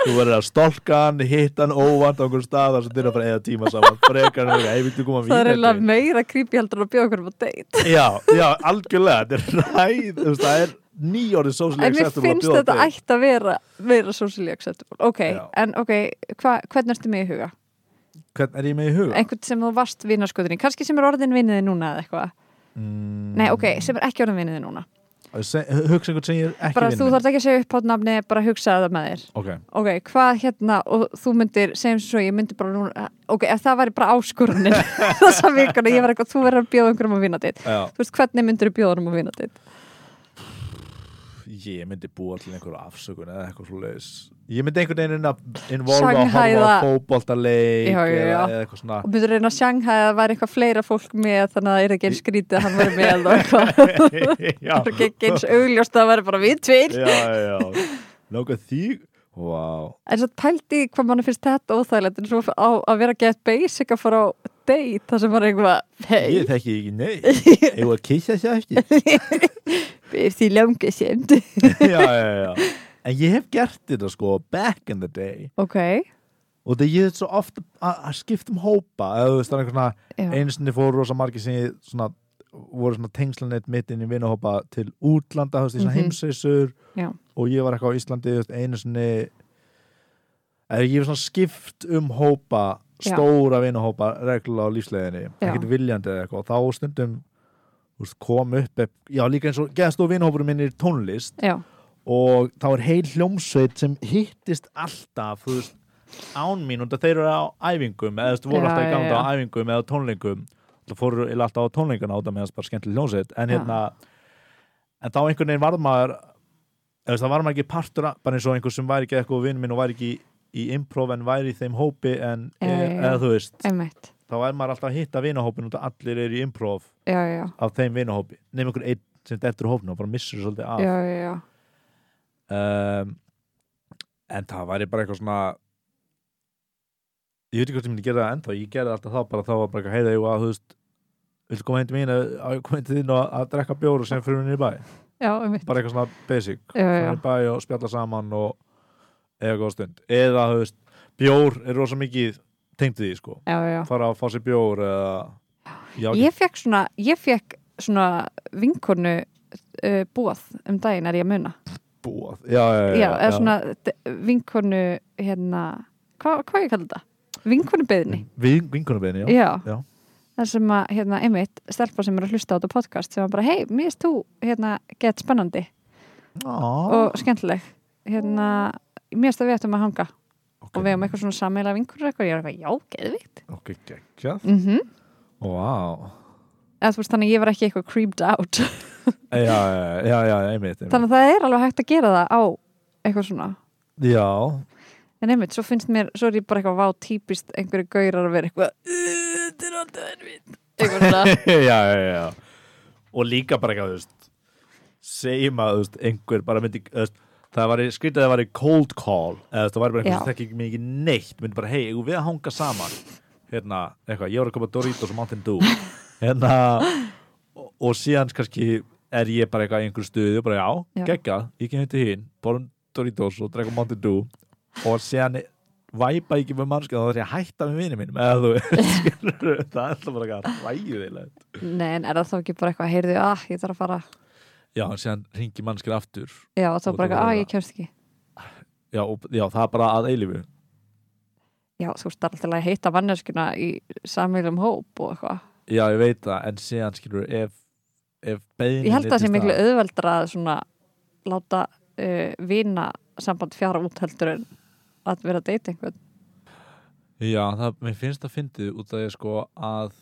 B: Þú verður að stolka hann, hitta hann óvand á einhver stað þar sem þeirra bara eða tíma saman frekar hann, ég viltu koma
A: (laughs) Það er eiginlega
B: vín
A: meira creepy heldur en að bjóða okkur á deit
B: Já, já, algjörlega, þetta er ræð þú veist, það er nýjórið sósilega
A: En mér finnst þetta ætti að vera vera socially acceptable Ok,
B: Já.
A: en ok, hva, hvernig ertu með í huga?
B: Hvern er ég með í huga?
A: Einhvern sem þú varst vínaskutin í kannski sem er orðin vinniði núna eða eitthvað
B: Mm,
A: Nei, ok, sem er ekki orðin vinniði núna
B: se- Hugsa einhvern sem ég er ekki
A: Bara
B: vinur
A: þú
B: minn.
A: þarf ekki að segja upp á nafni bara hugsa það með þér
B: Ok,
A: ok, hvað hérna og þú myndir, segjum sem svo, ég myndir bara núna ok, ef það væri bara áskorunin (laughs) þessa vikuna, ég var eitthvað, þú verður að bjóða einhverjum á vínadeitt,
B: já,
A: þú veist, hvernig myndir þú bjóða um á vínadeitt?
B: ég myndi búa til einhverju afsökun eða eitthvað svo leiðis Ég myndi einhvern veginn inn að involva að horfa
A: Shanghaiða-
B: á fótboltaleik
A: Já, já, já.
B: eða eða eitthvað svona
A: og myndir reyna að sjanga að það væri eitthvað fleira fólk með þannig að það er ekki eins skrítið að hann væri með og eitthvað,
B: (laughs) Já,
A: (laughs) það er ekki eins augljóst að það væri bara við tveir
B: (laughs) já, já, já Nóka þig, vá
A: en svo pældi í hvað mann finnst þetta óþægilegt en svo á að vera get basic að fara á date, það sem bara eitthvað hei,
B: Ég þekki ekki
A: (laughs)
B: nei Ég var að kissa sér eftir
A: því langi sénd (laughs)
B: Já, já, já En ég hef gert þetta sko back in the day
A: ok,
B: og þegar ég er svo oft að að skipta um hópa eða þú veist það er einhver svona
A: já,
B: einu sinni fór rosa margir sem ég svona, voru svona tengslanet mitt inn í vinahópa til útlanda, þú veist, í svona
A: Mhm.
B: heimsreisur
A: Já.
B: og ég var eitthvað á Íslandi þú veist, einu sinni eða ég var svona skipt um hópa
A: Já.
B: stóra vinahópa reglulega á lífsleiðinni,
A: Já.
B: ekkert viljandi eða eitthvað og þá stundum þú veist, kom upp, ep- já líka eins og geðast og vinahópurum minn er í tónlist
A: já,
B: og þá er heil hljómsveit sem hittist alltaf þú veist, án mín og þeir eru á æfingum eða þú veist, voru
A: Já,
B: alltaf í
A: já,
B: ganga á
A: já.
B: æfingum eða tónleikum það fóru eiginlega alltaf á tónleikana á það meðan bara skemmtileg hljómsveit en,
A: Já.
B: hérna, en þá einhvern veginn varð maður eða þú veist, það var maður ekki partur af- bara eins og einhver sem væri ekki eitthvað vinn minn og væri ekki í, í improv en væri í þeim hópi en
A: Já, já, já.
B: eða þú veist
A: einmitt
B: þá er maður alltaf að hitta vinahópin og allir eru í improv
A: já, já, já,
B: af þeim vinahópi nefnir einhver einn sem dettur úr hópnum og bara missur svolítið af
A: já, já, já.
B: um, en það væri bara eitthvað svona ég veit ekki hvort ég myndi gera það ennþá ég gerði alltaf þá bara þá var bara eitthvað heiða ég að þú veist viltu koma heim til mín að að koma heim til þín og að drekka bjóru sem fyrir minni í bæ
A: Já, einmitt.
B: bara eitthvað svona basic
A: Já, já,
B: fyrir
A: já.
B: í bæ og spjalla saman og eða góð stund eða þú veist bjór er rosa mikið tengt því sko
A: Já, já, já.
B: fara að fá sér bjór eða já,
A: Ég fekk svona, ég fekk svona vinkonu uh, búað um daginn er ég að muna.
B: búað já, já, Eh, já,
A: Já, eða svona d- vinkonu hérna, hva, hvað ég kalla þetta? Vinkonu beðni.
B: Vin- vinkonubeiðni, Mm, já.
A: Já.
B: já.
A: Það sem að, hérna, einmitt, stelpa sem er að hlusta á þetta podcast sem var bara, hei, mér erst þú, hérna, gett spennandi
B: Ah,
A: og skemmtileg. Hérna, mér erst að við ættum að hanga
B: ok.
A: og við hefum eitthvað svona sammeila vinkonur eitthvað, ég er eitthvað, já, geðvikt.
B: ok, geggjað
A: Mm
B: Vá wow.
A: Eða þú veist, þannig að ég var ekki eitthvað creeped out.
B: já, já, já, já, einmitt, einmitt.
A: þannig að það er alveg hægt að gera það á eitthvað svona
B: Já,
A: en einmitt, svo finnst mér, svo er ég bara eitthvað vá típist einhverju gaurar að vera eitthvað "Uh, þetta er alltaf erfitt eitthvað
B: (laughs)
A: svona,
B: (laughs) já, já, já Og líka bara eitthvað, þú veist Segjum að, þú veist, einhver bara myndi þú veist, það var í, skrítið að það var í cold call eða það var bara einhvers
A: Já.
B: sem þekki mig ekki neitt myndi bara, hei, eigum við að hanga saman hérna, eitthvað, ég var að koma Doritos og Mountain Dew hérna og, og síðan kannski er ég bara eitthvað í einhverju stuðu, bara já,
A: Já.
B: gegga ég kem heim til hinn, borum Doritos og dregum Mountain Dew og síðan væpa ekki með mannskja, þá þarf ég að hætta með vinið mínum, eða þú veist, (laughs) skilurðu, það er alltaf bara eitthvað ræðilegt
A: Nei, en er það þá ekki bara eitthvað, heyrðu, ah, ég þarf að fara
B: Já, en síðan ringi mannskir aftur
A: Já, og þá
B: Og
A: bara eitthvað,
B: þú
A: ah,
B: bara-
A: ég kemst ekki
B: já, og, já, það er bara að eilifu
A: Já, þú veist, það er alltaf að heita manneskuna í samvílum hóp og eitthvað
B: Já, ég veit það, en síðan skilur ef, ef beðin
A: Ég held að það sé miklu auðveldra að svona láta uh, vina samband fjara út heldur en að vera að deyta einhvern
B: Já, það, mér finnst það fyndið út af því sko að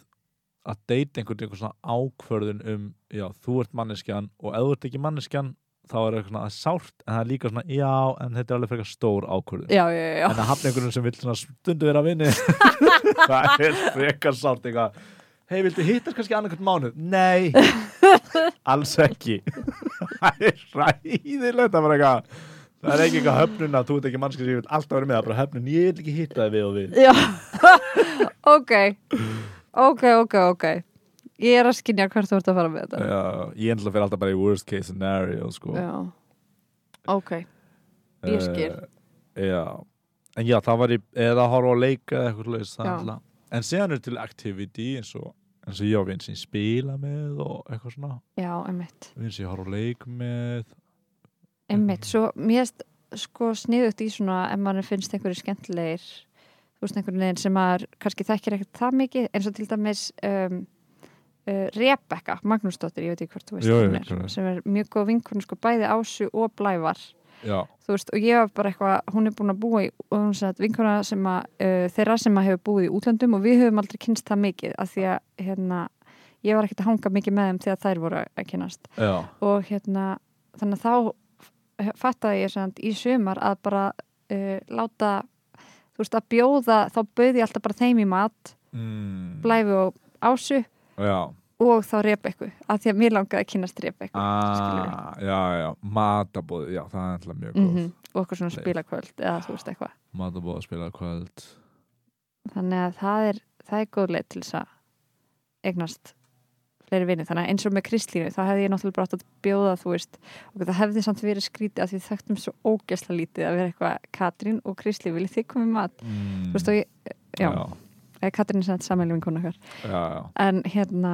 B: að deyta einhvern einhvern svona ákvörðun um já, þú ert manneskjan og ef þú ert ekki manneskjan þá er eitthvað svona að sárt en það er líka svona, já, en þetta er alveg frekar stór ákvörðun
A: Já, já, já,
B: en að hafna einhverjum sem vil svona stundu vera að vinni (laughs) það er frekar sárt eitthvað hei, viltu hittast kannski annarkvæmt mánuð? Nei alls ekki (laughs) það er ræðilegt það er eitthvað það er ekki eitthvað höfnun að þú ert ekki mannskið sem ég vil alltaf vera með, það er bara höfnun, ég vil ekki hitta þið við og við
A: já. (laughs) ok Ok, ok, ok Ég er að skynja hvert þú ert að fara með þetta
B: Já, ég ennlega fyrir alltaf bara í worst case scenario sko.
A: Já, ok ég skil.
B: Eh, já, en já, það var í eða að horfa á leika eða eitthvað leis
A: Já.
B: en síðan er til activity eins og, eins og ég á vinn sem ég spila með og eitthvað svona
A: Já, einmitt
B: Við erum sér horf á leik með
A: Einmitt, svo mér erst sko sniðugt í svona ef maður finnst einhverju skemmtilegir þú veist einhvern veginn sem maður kannski þekkir ekkert það mikið eins og til dæmis um, uh, Rebecca Magnúsdóttir, ég veit ekki hvort þú veist
B: Jú,
A: hver
B: ég
A: hún
B: veit hver hún
A: er,
B: er.
A: sem er mjög góð vinkunum sko bæði Ásu og Blævar
B: Já,
A: þú veist, og ég var bara eitthvað, hún er búin að búa í, og hún sagði að vinkona sem að uh, þeirra sem að hefur búið í útlöndum og við höfum aldrei kynst það mikið, af því að hérna, ég var ekkert að hanga mikið með þeim þegar þær voru að kynast
B: já,
A: og hérna þannig að þá fattaði ég sem sagt í sumar að bara uh, láta, þú veist að bjóða þá bauði ég alltaf bara þeim í mat
B: mm,
A: blæfi og ásu
B: já.
A: og þá Rebekku, af því að mér langaði að kynast Rebekku
B: Ah, já, já, matabóð Já, það er alltaf mjög góð
A: mm
B: mm
A: og eitthvað svona
B: Leif.
A: spilakvöld eða þú veist eitthvað,
B: Matabóð að spila kvöld
A: þannig að það er það er góð leið til þess að eignast fleiri vinni, þannig að eins og með Kristlínu, þá hefði ég náttúrulega bara átt að bjóða þú veist, og það hefði samt verið skrítið af því við þekktum svo ógæsla lítið að vera eitthvað Katrín og Kristli, viljið þið komið mat
B: mm,
A: Þú veist og ég, já,
B: já,
A: já. Katrín er sætt samanlega vinkona okkar.
B: já, já.
A: En hérna,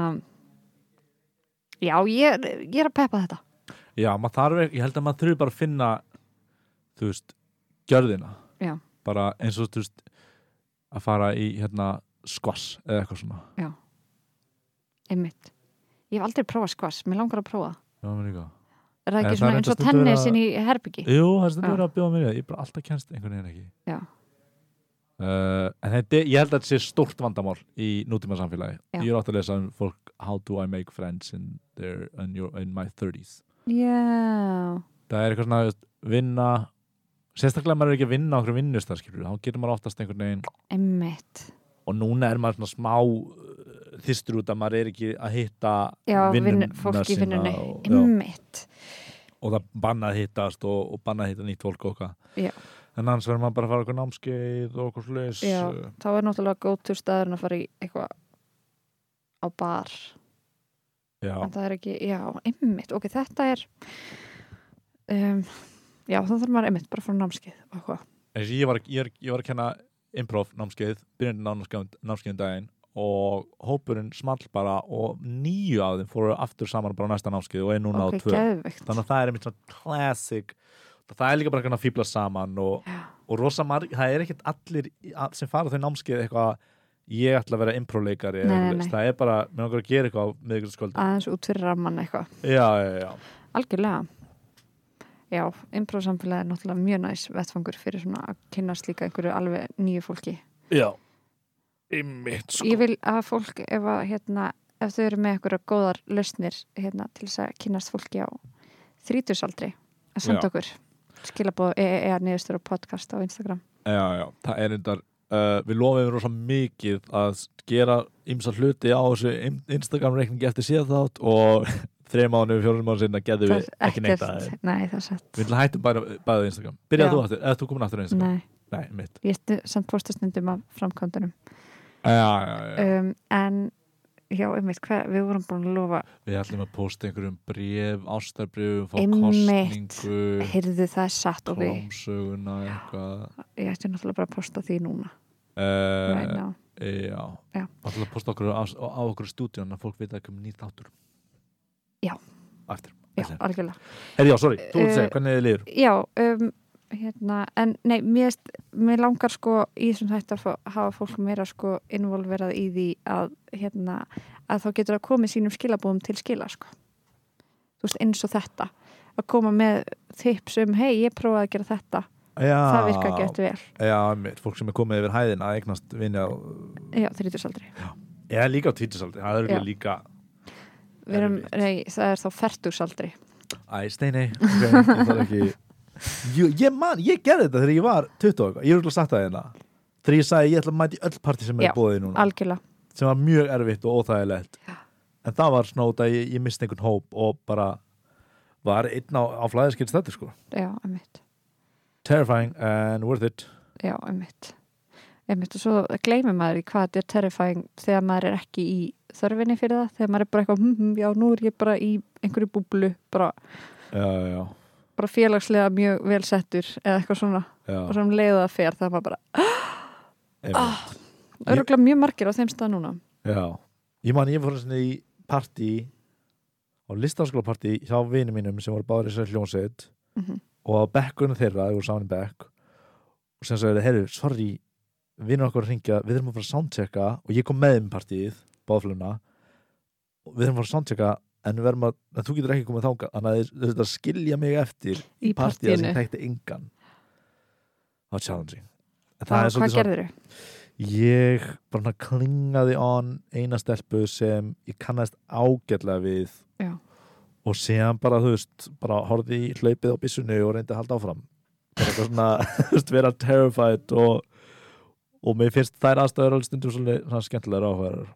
A: já, ég, er- ég er að peppa þetta.
B: já maður þarf, ekki- ég held að maður þurfi bara að finna Þú veist, gjörðina
A: Já.
B: Bara eins og þú veist Að fara í hérna skvass Eða eitthvað svona
A: Einmitt. Ég hef aldrei prófað skvass, mér langar að prófa. það.
B: Já, mér líka
A: Er það
B: Nei,
A: ekki
B: það er
A: svona eins og
B: enda stundum
A: tennis
B: að-
A: inn í herbyggi?
B: Jú, það er stundur
A: Já.
B: verið að bjóða mér í það, ég bara alltaf kennst einhvern veginn ekki
A: Já.
B: Uh, en þetta, ég held að þetta sé stórt vandamál í nútíma samfélagi
A: Já.
B: Ég er átt að lesa um fólk How do I make friends in, their, in, your, in my 30s
A: Já,
B: Það er eitthvað svona veist, vinna Sérstaklega ef maður er ekki að vinna á okkur vinnustarskipur Þá getur maður oftast einhvern veginn
A: einmitt.
B: Og núna er maður svona smá uh, þystur út að maður er ekki að hitta
A: Já,
B: vinnuna
A: vinnu, fólk í
B: sína
A: vinnunni. Mm.
B: og, já.
A: Einmitt.
B: og það bannað hittast og, og bannað hitta nýtt fólk og
A: Já.
B: okkar en annars verður maður bara að fara okkur námskeið og okkur slags
A: Já, þá er náttúrulega góð til staðurinn að fara í eitthvað á bar.
B: já,
A: En það er ekki, já, einmitt. Ok, þetta er, um, já, þá þarf maður einmitt bara að fara á námskeið og eitthvað.
B: eins og ég var, ég, er- ég var að kenna improv námskeið, byrjandi námskeið, námskeið um daginn og hópurinn small bara og nýju af þeim fóru aftur saman bara á næsta námskeið og er núna
A: ok,
B: á tvö
A: geðveikt.
B: þannig að það er einmitt svona classic það er líka bara eitthvað að fýbla saman og,
A: Já.
B: og rosa marg, það er ekkert allir í- að- sem fara þau námskeið eitthvað ég ætla að vera improv-leikari eða
A: Nei,
B: eitthvað
A: nei,
B: leist. það er bara, mér langar að gera eitthvað miðvíkundskvöld,
A: aðeins út fyrir ramman eitthvað
B: já, já, já
A: algjörlega já, imprósamfélagi er náttúrulega mjög næs vettfangur fyrir svona að kynnast líka einhverju alveg nýju fólki
B: Já Einmitt sko
A: ég vil að fólk ef, að, hérna, ef þau eru með einhverja góðar lausnir hérna, til þess að kynnast fólki á þrítusaldri að senda
B: Já.
A: okkur e, skilabóð EEA niðurstur og podcast á Instagram
B: já, já, það er endar uh, Við lofum rosa mikið að gera ymsa hluti á þessu Instagram reikningi eftir síðan þátt og (laughs) þreim mánu, fjórnum mánu sinna geðum við ekki neitt að
A: Ekkert- Nei, það er satt
B: Við ætlum að hættum bara bæðið Instagram Byrjaði
A: Já.
B: þú aftur, eða þú komin aftur á Instagram
A: Nei,
B: Nei, mitt
A: ég stu, samt fórstu stundum af framkvæmdunum
B: já, já, já.
A: um, En, já, einmitt, hvað, við vorum búin að lofa
B: Við ætlum að posta einhverjum bref, ástarbrefum Fá
A: Einmitt.
B: kostningu
A: Heyrðu það er satt og við
B: Klámsöguna eitthvað
A: Ég ætti náttúrulega bara að posta því núna right
B: uh,
A: now.
B: Já
A: Já.
B: Það ætlum að posta okkur á, á okkur stúdíun að fólk veit að kemur nýtt áttur
A: Já.
B: Aftur
A: Já, algjörlega
B: Herri, já, sorry, þú ert að
A: Eh,
B: segja, hvernig þið líður
A: já, um, hérna, en nei, mér, finnst- mér langar sko í þessum hættu að fá- hafa fólk meira sko involverað í því að, hérna, að þá getur að komið sínum skilabúðum til skila sko. Þú veist, eins og þetta. Að koma með tips um, hei, ég prófaði að gera þetta.
B: já,
A: Það virka ekki eftir vel.
B: Já, mitt, fólk sem er komið yfir hæðin að eignast vinja á
A: Já, þrítusaldri.
B: Já, líka á tvítisaldi, það er
A: Já.
B: örugglega líka
A: Við erum,
B: Erfitt.
A: nei, það er þá fertugsaldri.
B: Æ, steinei, ok, ég þarf ekki ég, ég man, ég gerði þetta þegar ég var 20 og eitthvað, ég er útla að sagt það hérna þegar ég sagði ég ætla að mæti öll partí sem
A: Já,
B: er bóðið núna,
A: Algjörlega.
B: sem var mjög erfitt og óþægilegt
A: Já.
B: en það var snót að ég, ég misti einhvern hóp og bara var einn á, á flæðiskins þetta sko
A: Já, einmitt.
B: terrifying and worth it
A: Já, einmitt. Einmitt og svo gleymir maður í hvað þetta er terrifying þegar maður er ekki í þörfinni fyrir það, þegar maður er bara eitthvað, hm, hm, já, nú er ég bara í einhverju búblu, bara,
B: já, já,
A: bara félagslega mjög vel settur eða eitthvað svona, um
B: já,
A: og sem leiða það fer, það er maður bara,
B: já, Ég-
A: öruglega mjög margir á þeim stað núna.
B: já. ég man ég fór einu sinni í partí á listanskólapartí hjá vinum mínum sem voru báður í sér hljónsveit
A: Mm
B: og á bekkunum þeirra, þeir voru saman í bekk og sem sagði, heyrðu, sorry vinnur okkur að ringja, við þurfum að fara að soundchecka og ég kom með þeim í partíið, báðfluna og við þurfum að fara að soundchecka en, við verðum að, en þú getur ekki komið þangað þannig að þeir þurfum að skilja mig eftir
A: Í
B: partíið sem
A: partíinu.
B: tekti engan það var challenging en það er
A: Hvað
B: svolítið
A: gerður þau?
B: ég bara svona klingaði on eina stelpu sem ég kannast ágætlega við
A: Já.
B: og síðan bara, þú veist, bara horfði í hlaupið á byssunni og reyndi að halda áfram bara eitthvað svona, (laughs) þú veist, vera terrified og, og mér finnst þær aðstæður alveg stundum svolítið svona skemmtilega áhverjar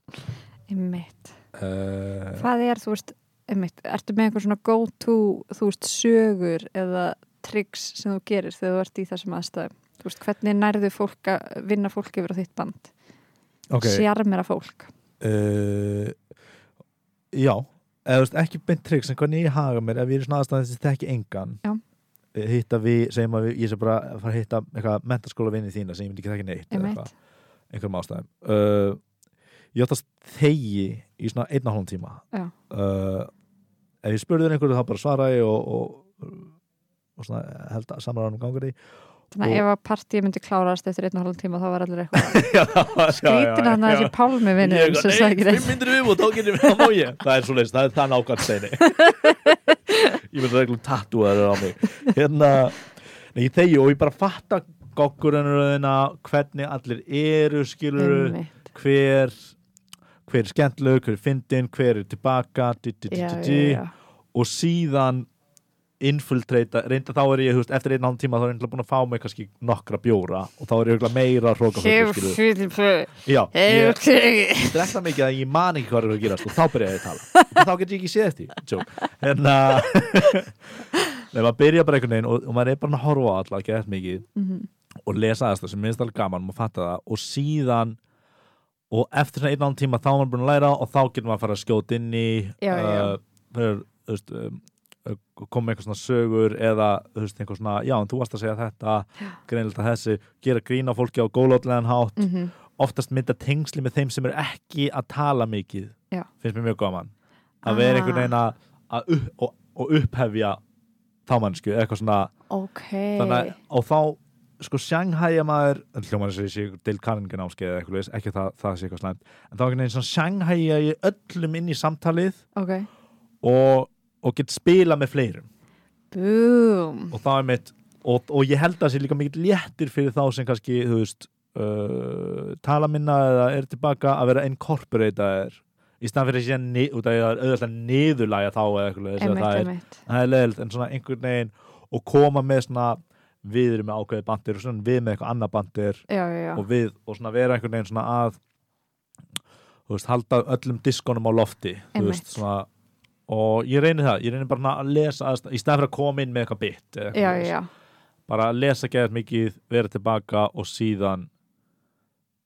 A: Einmitt.
B: uh,
A: Hvað er, þú veist, einmitt, ertu með einhver svona go-to, þú veist, sögur eða tricks sem þú gerir þegar þú ert í þessum aðstæðum? Þú veist, hvernig nærðu fólk að vinna fólk yfir á þitt band?
B: ok
A: okay. sjarmera fólk
B: uh, já eða þú veist, ekki beint trygg sem hvernig ég haga mér ef ég er í svona aðstæðan sem þekki engan
A: Já.
B: Eh, hitta við, segjum að við, ég sé bara að fara að hitta eitthvað mentaskóla þína sem ég myndi ekki þekki neitt eða
A: Einmitt.
B: eitthvað, einhverjum ástæðum uh, ég áttast þegi í svona einna hálfum tíma
A: Já.
B: uh, ef ég spurði þér einhverju þá bara svara ég og, og, og svona eh, held að samræðanum gangur í
A: Þannig
B: Og-
A: að ef að partíi myndi klárast eftir einn og hálfum tíma þá var allir
B: (laughs)
A: eitthvað
B: skrítin
A: grítin að þessi pálmi vinnur sem sagði
B: Nei, fimm
A: þetta
B: myndir við og þá getum við að má ég Það er svo leiðis, það er þann
A: (laughs)
B: ákvæmt steini Ég vil reglum tattúaður á mig Hérna Nei, ég þegi og ég bara fatta goggurunurðina Hvernig allir eru skilur
A: Einmitt.
B: Hver Hver er skemmtlug, hver er fyndin, hver er tilbaka di, di, di,
A: Já,
B: di,
A: já,
B: di.
A: já.
B: Og síðan infiltreita, reynda þá er ég þú veist, eftir einn án tíma þá er ég búin að fá mig kannski nokkra bjóra og þá er ég örugglega meira hróka Já, ég,
A: Hefur-
B: drekk það mikið að ég man ekki hvað er að gerast og þá byrja ég að tala og þá get ég ekki séð eftir því. Joke. en að (laughs) nei, maður byrja bara einhvern veginn og, og maður er bara að horfa á alla ekki eftir mikið
A: Mhm.
B: og lesa aðeins það sem minnst alveg gaman maður fatta það og síðan og eftir svona einn án tíma þá er maður búin að læra og þá getur maður að fara að skjóta inn í
A: Já, já, já.
B: uh, fyrir, þú veist, um, uh, koma með eitthvað svona sögur eða þú veist, einhver svona, já, en þú varst að segja þetta greinleita þessi, gera grína fólki á gólótlegan hátt
A: Mhm.
B: oftast mynda tengsli með þeim sem er ekki að tala mikið
A: Já.
B: finnst mér mjög gaman að vera
A: Ah.
B: einhvern veginn að- að upp, og, og upphefja þá mannsku eitthvað svona
A: Ok
B: þannig, að- og þá sko sjanghæja maður en hljóman sem sé til kanningin áskeið eða eitthvað leis, ekki það, það sé eitthvað slæmt en þá er einhvern veginn svona sjanghæja ég öllum inn í samtalið
A: Ok
B: og, og get spila með fleirum
A: Búm
B: og það er mitt og, og ég held að það sé líka mikið léttir fyrir þá sem kannski, þú veist uh, tala minna eða er tilbaka að vera incorporated í staðan fyrir að sé ni- út af því að það er auðvitað niðurlæja þá eða eitthvað leiðis, eða
A: Einmitt,
B: það er,
A: einmitt
B: það er leiðilegt en svona einhvern veginn og koma með svona við erum með ákveði bandir og svona við með eitthvað annað bandir
A: Já, já, já
B: og við og svona vera einhvern veginn svona að þú veist, halda öllum diskonum á lofti þú
A: Einmitt.
B: veist, svona og ég reyni það, ég reyni bara að lesa aðst- í stæðan fyrir að koma inn með eitthvað bytt eða eitthvað
A: já,
B: svoleiðis.
A: já,
B: bara að lesa geðast mikið, vera tilbaka og síðan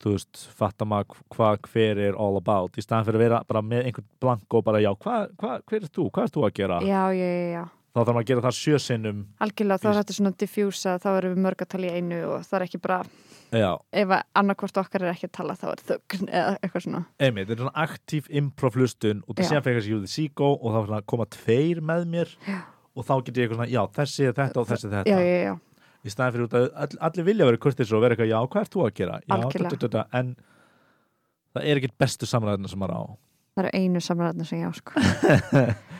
B: þú veist, fatta maður hvað hver er all about, í staðan fyrir að vera bara með einhvern blank og bara já, hvað, hvað, hver er þú hvað er þú að gera,
A: já, já, já, já, já.
B: þá þarf maður að gera það sjösinnum
A: algjörlega þá er
B: Fyrst-
A: þetta svona diffjúsa, þá erum við mörg að tala í einu og það er ekki bara,
B: já,
A: ef að annarkvort okkar er ekki að tala þá er þögn eða eitthvað svona
B: einmitt, þetta er svona aktív improv hlustun og
A: Já.
B: það séðan fyrir að skilja síkó og þá svona koma tveir með mér
A: Já.
B: og þá get ég eitthvað svona, já, þessi er þetta og þessi er þetta
A: já, já, já,
B: í staðan fyrir út að all, allir vilja vera kurtis og vera eitthvað, já, hvað ert þú að gera? Já,
A: Algjörlega.
B: da, da, da, da, en það er ekkert bestu samræðina sem maður á
A: það eru einu samræðna sem ég á sko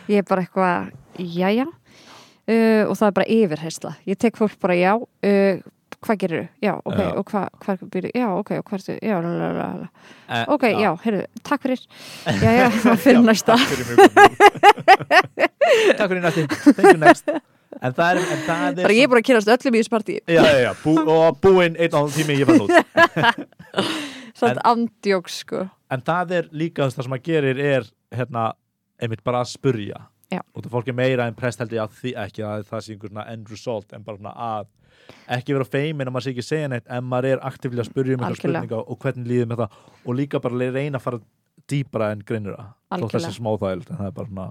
A: ég er bara eitthvað, já, já uh, og það er bara yfirheysla ég tek fólk bara já uh, hvað gerir já, ok,
B: Já.
A: og hvað hva, býr, já, ok, og hvað ertu, já, lalalala
B: Eh,
A: ok, já, heyrðu, takk fyrir já,
B: (laughs)
A: já, fyrir næsta
B: Takk fyrir mig
A: (laughs)
B: Guðný. Takk fyrir næsti Thank you next En það er, en það er
A: bara ég er bara að kynast öllum í þessu partí
B: Já, já, já, bú, og búinn einn og hálf tími ég fann út
A: svona andjóks sko
B: En það er líka þú veist, það sem maður gerir er hérna, einmitt bara að spurja
A: Já.
B: og það fólk er meira en prest held ég að því ekki að það sé einhver svona end result en bara svona að ekki vera feimin að maður sé ekki að segja neitt en maður er aktíflega að spurja um einhver
A: Algjörlega.
B: spurninga og hvernig líður með það og líka bara reyna að fara dýpra en grinnur að þótt
A: Algjörlega.
B: þessi smá þægild en það er bara svona,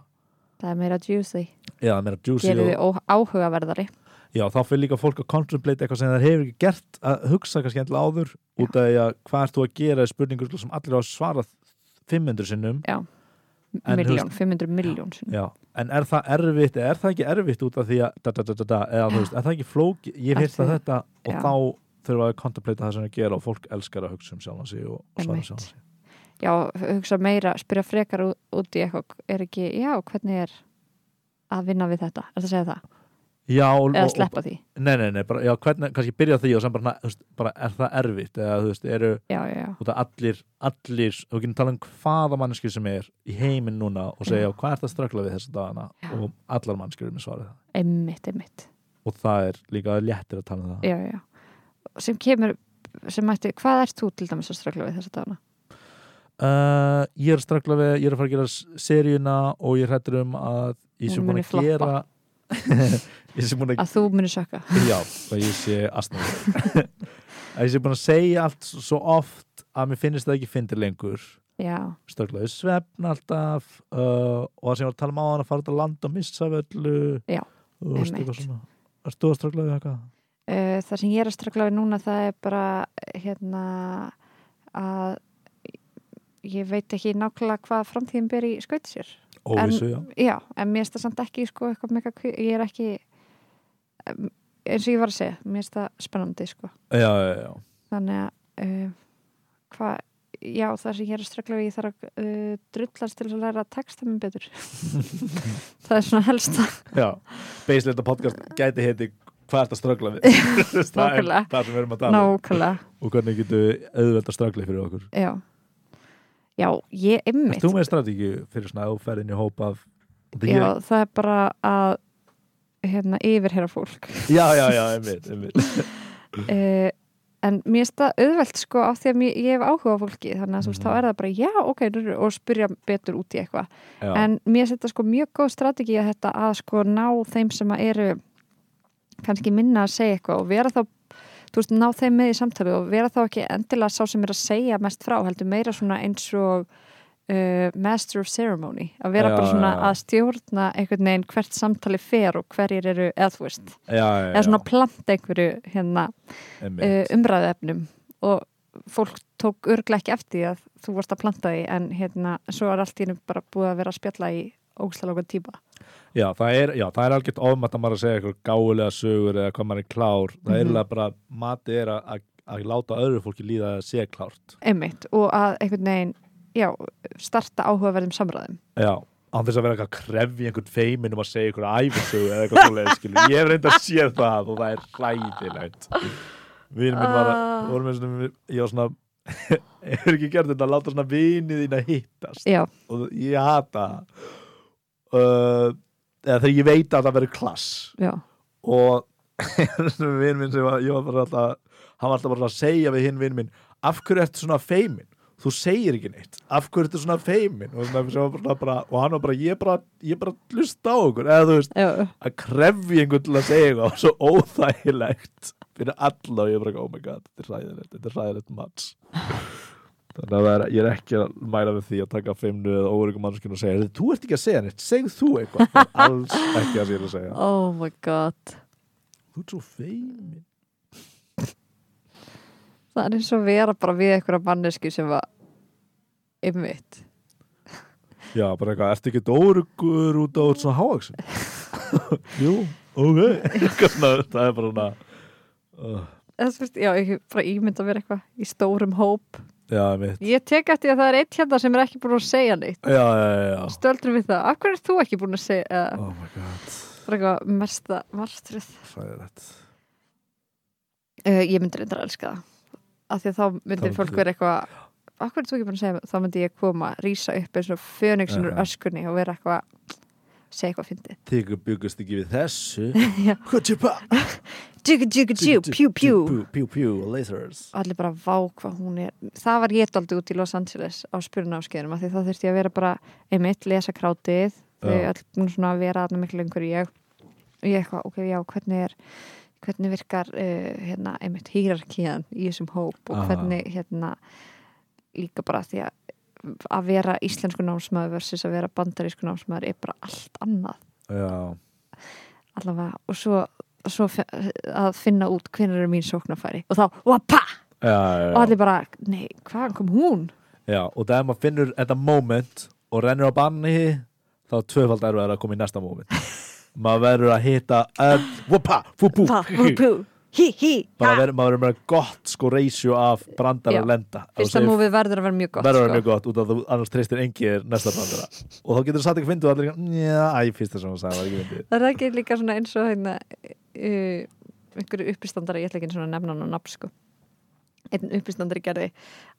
A: það er meira juicy,
B: já, meira juicy
A: gerir
B: og-
A: þið ó- áhugaverðari
B: Já, þá fyrir líka fólk að contemplate eitthvað sem það hefur ekki gert að hugsa kannski endilega áður út af því að hvað ert þú að gera er spurningur sem allir á að svara 500 sinnum En
A: miljón, 500 miljón sinnum.
B: Já, en er það erfitt eða er það ekki erfitt út af því að da, da, da, da, da, eða þú veist, er það ekki flóki ég
A: Af
B: hef heyrt að
A: því-
B: þetta og
A: já.
B: þá þurfa að contemplate það sem það gera og fólk elskar að hugsa um sjálfan sig og og svara
A: Einmitt.
B: sjálfan sig
A: já, hugsa meira, spyrja frekar ú- út í eitthvað, er ekki, já, hvernig er að vinna við þetta, er það að segja það
B: Já, Hm, og,
A: eða
B: og,
A: sleppa því,
B: og nei, nei, nei, bara, já, hvernig, kannski byrja á því og sem bara, na- þú veist, bara er það erfitt eða þú veist, eru
A: já, já, já
B: út af allir, allir og við getum talað um hvaða manneskjur sem er í heiminn núna og segja
A: Já.
B: hvað er það að ströggla við þessa dagana
A: Já.
B: og allar manneskjur er með svarið það.
A: einmitt, einmitt,
B: og það er líka léttir að tala um það
A: já, já sem kemur, sem mætti, hvað ert þú til dæmis að ströggla við þessa dagana
B: uh, ég er að ströggla við, ég er að fara að gera s- seríuna og ég hrættur um að ég
A: Hún
B: sem búin
A: muni
B: að gera (laughs) ég sem búin að
A: að þú munir sökka,
B: Já, og ég sé astnaður (laughs) að ég sé búin að segja allt s- svo oft að mér finnist það ekki fyndir lengur
A: já,
B: stöklaði svefn alltaf uh, og það sem ég var að tala um á hann að fara út að landa og missa af öllu
A: Já,
B: og veist eitthvað
A: einmitt.
B: svona Erst þú að stöklaði eitthvað?
A: uh, það sem ég er að ströggla við núna það er bara, hérna að ég veit ekki nákvæmlega hvað framtíðin ber í skauti sér
B: Óvissu, já
A: Já, en mér finnst það samt ekki sko eitthvað mega, kví- ég er ekki em, eins og ég var að segja, mér finnst það spennandi sko,
B: Já, já, já,
A: þannig að uh, hvað, já það sem ég er að strakla við, ég þarf að uh, drullast til að læra að texta mér
B: (laughs)
A: betur það er svona helsta
B: já. Basically þetta podcast gæti heiti hvað ert að ströggla við (laughs) það, er
A: Nákvæmlega.
B: það sem við erum að tala um.
A: nákvæmlega,
B: og hvernig getum við auðvelt að ströggla fyrir okkur
A: já Já, ég
B: Erst
A: ymmit
B: þú með strategíu fyrir svona áferðin í hóp af
A: Já,
B: Því ég-
A: það er bara að hérna, yfirherra fólk
B: já, já, já, einmitt, einmitt.
A: uh, en mér finnst það auðvelt sko af því að mér, ég hef áhuga á fólki þannig að þú veist,
B: Mhm.
A: þá er það bara já, ok, nú- og spyrja betur út í eitthvað
B: Já,
A: en mér finnst þetta sko mjög góð strategi að þetta að sko ná þeim sem að eru kannski minna að segja eitthvað og vera þá þú veist, ná þeim með í samtali og vera þá ekki endilega sá sem er að segja mest frá heldur meira svona eins og uh, master of ceremony að vera
B: Já,
A: bara svona
B: já, já.
A: að stjórna einhvern veginn hvert samtali fer og hverjir eru, eða þú veist,
B: já, já,
A: eða svona
B: já,
A: planta einhverju hérna
B: einmitt.
A: uh, umræðuefnum og fólk tók örglega ekki eftir því að þú varst að planta því en hérna svo er allt í hennu bara búið að vera að spjalla í ógæslega langan tíma
B: Já, það er, já, það er algjört ofmætt að maður að segja eitthvað gáulega sögur eða hvað maður er klár. Það er
A: Mhm.
B: eiginlega bara, matið er að, að, að láta öðru fólki líða að sé klárt.
A: einmitt og að einhvern veginn já, starta áhugaverðum samræðum
B: Já, án þess að vera eitthvað að krefja einhvern feimin um að segja einhverja æfisögu eða eitthvað svoleiðis, skilu. Ég hef reynd að sé það og það er hlæðilegt. Vínum minn var að,
A: Ah.
B: vorum við svona, ég var svona, (laughs) hefur ekki gert þetta að láta svona vinið þín að hittast.
A: já,
B: Og ég hata það. uh, eða þegar ég veit að það verður klass
A: já,
B: og (laughs) vinn minn sem var, ég var bara alltaf hann var alltaf bara að segja við hinn vinn minn af hverju ertu svona feimin þú segir ekki neitt af hverju þetta er svona feimin og, svona, sem var bara, svona bara, og hann var bara, ég bara ég bara hlusta á okkur, eða þú veist
A: já,
B: að krefja einhvern til að segja eitthvað svo óþægilegt fyrir alla og ég er bara, oh my god, þetta er ræðilegt þetta er ræðilegt manns þannig að það er, ég er ekki að mæla við því að taka feimnu eða óryggum mannskinu og segja þú ert ekki að segja neitt, segð þú eitthvað Það er alls ekki að segja að segja
A: oh my god
B: þú ert svo feimin
A: það er eins og að vera bara við einhverja mannesku sem var einmitt
B: já, bara eitthvað, ertu ekki óryggur út á svona háaksum (laughs) jú,
A: (laughs)
B: ok Eitthvað svona, það er bara svona uh,
A: Eða, þú veist, já, ég hef bara ímynda mér eitthvað í stórum hóp
B: já, mitt
A: ég tek eftir að það er eitt hérna sem er ekki búin að segja neitt
B: já, já, já, já,
A: stöldur við það, af hverju er þú ekki búin að segja eða,
B: oh my god
A: bara eitthvað mesta marstruð
B: ræðilegt
A: uh, ég myndi reyndar að elska það af því að þá
B: myndi
A: myndir fólk
B: þú-
A: vera eitthvað af hverju er þú ekki búin að segja mér?" þá myndi ég koma, rýsa upp eins og fönixin úr
B: Já.
A: öskunni og vera eitthvað segja eitthvað fyndið
B: þig byggust ekki við
A: (laughs)
B: þessu
A: Já.
B: Kutjupa
A: tjúku tjúku tjú, pjú pjú
B: Pjú pjú Lasers
A: allir bara vá hvað hún er það var ég daldi út í Los Angeles á spyrunafskeiðunum af því þá þurfti ég að vera bara einmitt lesa krátið þau
B: Já.
A: öll búin svona að vera aðna miklu lengur en ég og ég eitthvað, ok, já, hvernig er hvernig virkar uh, hérna, einmitt hýrarkíðan í þessum hóp og
B: Aha.
A: hvernig hérna líka bara því að að vera íslensku námsmaður versus að vera bandarísku námsmaður er bara allt annað
B: Já
A: allavega og svo, svo fe- að finna út hvernig eru mín sóknarfæri og þá, wappa
B: Já, já,
A: og
B: já.
A: allir bara, nei, hvaðan kom hún?
B: já Og það er maður finnur þetta moment og rennur á banni þá er tvöfald erfið að koma í
A: (laughs)
B: næsta moment maður verður að hitta öll Wuppa, wuppu
A: Pa, vú, pú, hí, hí,
B: Bara
A: ha
B: verður- maður verður með gott sko reysju af brandar
A: Já.
B: að lenda Ef þú
A: Fyrsta
B: segir-
A: múfið verður að vera mjög gott
B: verður það
A: sko.
B: mjög gott út af þú annars treystir engir næsta brandara og þá getur þú satt ekki fyndið og allir ekki Já, æ, fyrsta sem hún sagði var ekki fyndið
A: Það er ekki líka svona eins og hérna, uh, einhverju uppistandari ég ætla ekki einu sinni að nefna hann á nafn sko. einn uppistandari gerði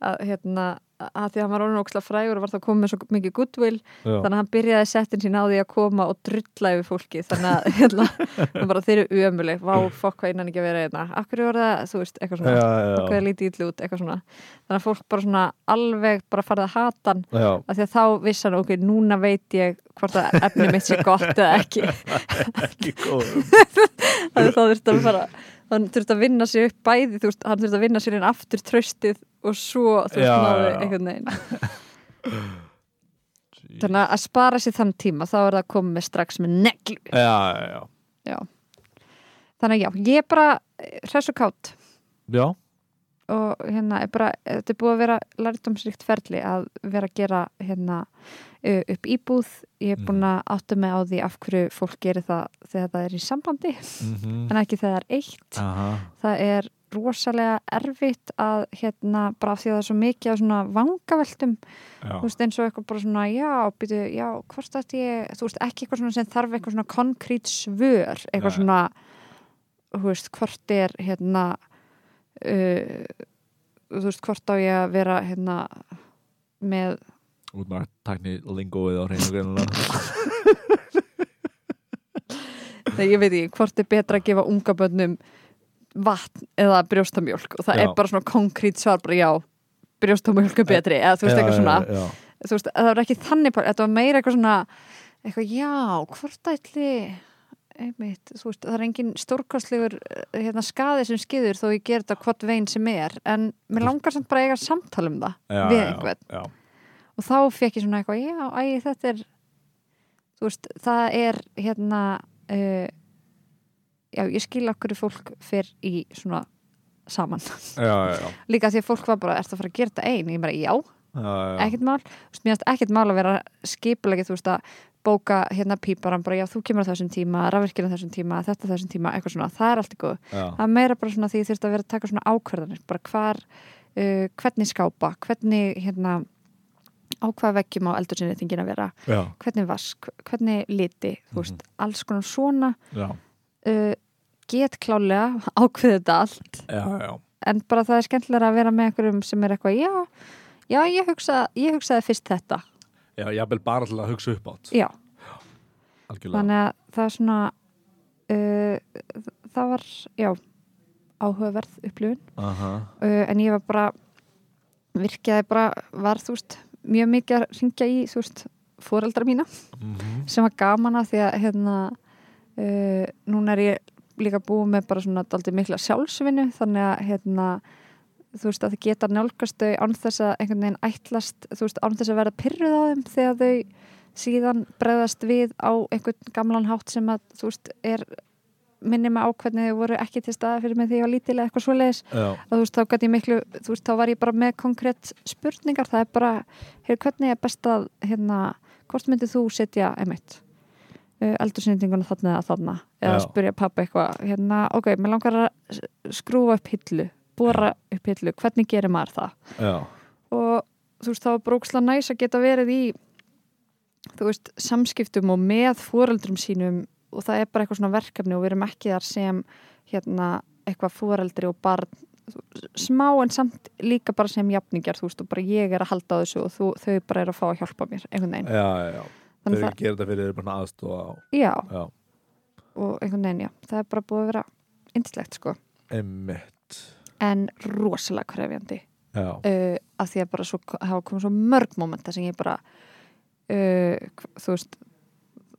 A: að, hérna, að því að hann var orðin óksla frægur og var þá komið með svo mikið goodwill
B: Já.
A: þannig að hann byrjaði settin sín á því að koma og drulla yfir fólki þannig að (laughs) hérna, hann bara þeir eru ömuleg vá, fokk hvað innan ekki að vera hérna akkur er það, þú veist, eitthvað
B: Já,
A: svona og hvað
B: já,
A: er lítið ítlu út, eitthvað svona þannig að fólk bara svona alveg bara farið að hata hann (laughs)
B: já, já.
A: af því að þá vissi hann, ok, núna veit ég hvort að efni mitt sé gott eða ekki
B: (laughs)
A: (laughs)
B: Ekki góð
A: þannig að þá þurfti að fara hann þurfti að vinna sér upp bæði þú veist, hann þurfti að vinna sér inn aftur tröstið og svo þú veist,
B: Já,
A: náði
B: já, já.
A: einhvern veginn þannig að að spara sér þann tíma þá er það að koma með strax með neglu
B: Já, já, já
A: þannig að já, ég er bara eh, hress og kátt
B: Já,
A: og hérna er bara, þetta er búið að vera lærdomsrikt ferli að vera að gera hérna uh, upp íbúð ég er búin að átta mig á því af hverju fólk gerir það þegar það er í sambandi
B: Mhm.
A: en ekki þegar það er eitt
B: Aha.
A: það er rosalega erfitt að hérna, bara af því að það er svo mikið af svona vangaveltum,
B: já.
A: þú veist eins og eitthvað bara svona, já, býtu, já, hvort að ég þú veist, ekki eitthvað svona sem þarf eitthvað svona konkrít svör, eitthvað
B: Nei.
A: svona þú veist, hvort er hérna uh, þú veist, hvort á ég að vera hérna með
B: Út með tækni lingóið á reynu greinuna
A: Nei, ég veit ekki, hvort er betra að gefa unga bönnum vatn eða brjóstamjólk og það
B: Já.
A: er bara svona konkrétt svar bara já, brjóstamjólk er betri eða þú veist eitthvað svona,
B: já, já.
A: þú veist, það var ekki þannig bara, þetta var meira eitthvað svona eitthvað já, hvort ætli einmitt, þú veist, það er engin stórkastlegur eh, hérna skaði sem skiður þó ég ger þetta hvort veginn sem er en mér langar samt bara að eiga samtal um það
B: Já,
A: við
B: já,
A: einhvern
B: já.
A: og þá fekk ég svona eitthvað já, æ, þetta er þú veist, það er hérna uh, já, ég skil okkur fólk fer í svona saman, (laughs)
B: Já, já, já.
A: líka því að fólk var bara ertu að fara að gera þetta ein, ég bara já,
B: Já, já.
A: ekkert mál þú veist, mér finnst ekkert mál að vera skipulegið þú veist að bóka hérna píparan bara já, þú kemur á þessum tíma, rafvirkina þessum tíma þetta þessum tíma, eitthvað svona, það er allt í góð
B: já.
A: það er meira bara svona því ég þurfti að vera að taka svona ákverðanir bara hvar, uh, hvernig skápa hvernig hérna á hvaða veggjum á eldursinnitingin að vera
B: já,
A: hvernig vask, hvernig liti þú veist, alls konar svona
B: já,
A: uh, get klálega (laughs) ákveðið þetta allt
B: já, já.
A: en bara það er skemmtilega að vera með einhverjum sem er eitthvað, já, já ég, hugsa, ég hugsaði fyrst þetta,
B: Já, ég vil bara til að hugsa upp átt
A: já
B: Algjörlega
A: þannig að það er svona uh, það var, já áhugaverð upplifun
B: Aha.
A: uh, en ég var bara virkiði bara var þú veist mjög mikið að ringja í þú veist foreldra mína
B: Mhm.
A: sem var gaman að því að hérna uh, núna er ég líka búið með bara svona daldið mikla sjálfsvinnu þannig að hérna þú veist að það geta nálgast þau án þess að einhvern veginn ætlast þú veist án þess að vera pyrruð á þeim þegar þau síðan bregðast við á einhvern gamlan hátt sem að þú veist er minni með á hvernig þau voru ekki til staða fyrir mig því ég var lítilega eitthvað svoleiðis
B: Já,
A: að þú veist þá gæti ég miklu þú veist þá var ég bara með konkrétt spurningar það er bara, hér hvernig er best að hérna, hvort myndið þú setja einmitt uh, eldursendinguna þarna eða þarna eða
B: Já.
A: spyrja pappa eitthvað, hérna ok, mér langar að s- skrúfa upp hillu bóra upp hillu, hvernig gerir maður það
B: já,
A: og þú veist þá er bróksla næs að geta verið í þú veist samskiptum og með fóreldrum sínum og það er bara eitthvað svona verkefni og við erum ekki þar sem hérna eitthvað fóreldri og barn þú- smá en samt líka bara sem jafningar þú veist og bara ég er að halda á þessu og þú, þau bara er að fá að hjálpa mér einhvern veginn
B: já, já. Þau
A: þannig
B: eru
A: það,
B: að gera þetta fyrir þeir bara aðstóða á
A: já
B: Já,
A: og einhvern veginn já það er bara búið að vera indislegt sko
B: emmitt
A: en rosalega krefjandi
B: Já,
A: uh, að því að bara svo, hafa komið svo mörg momenta sem ég bara uh, þú veist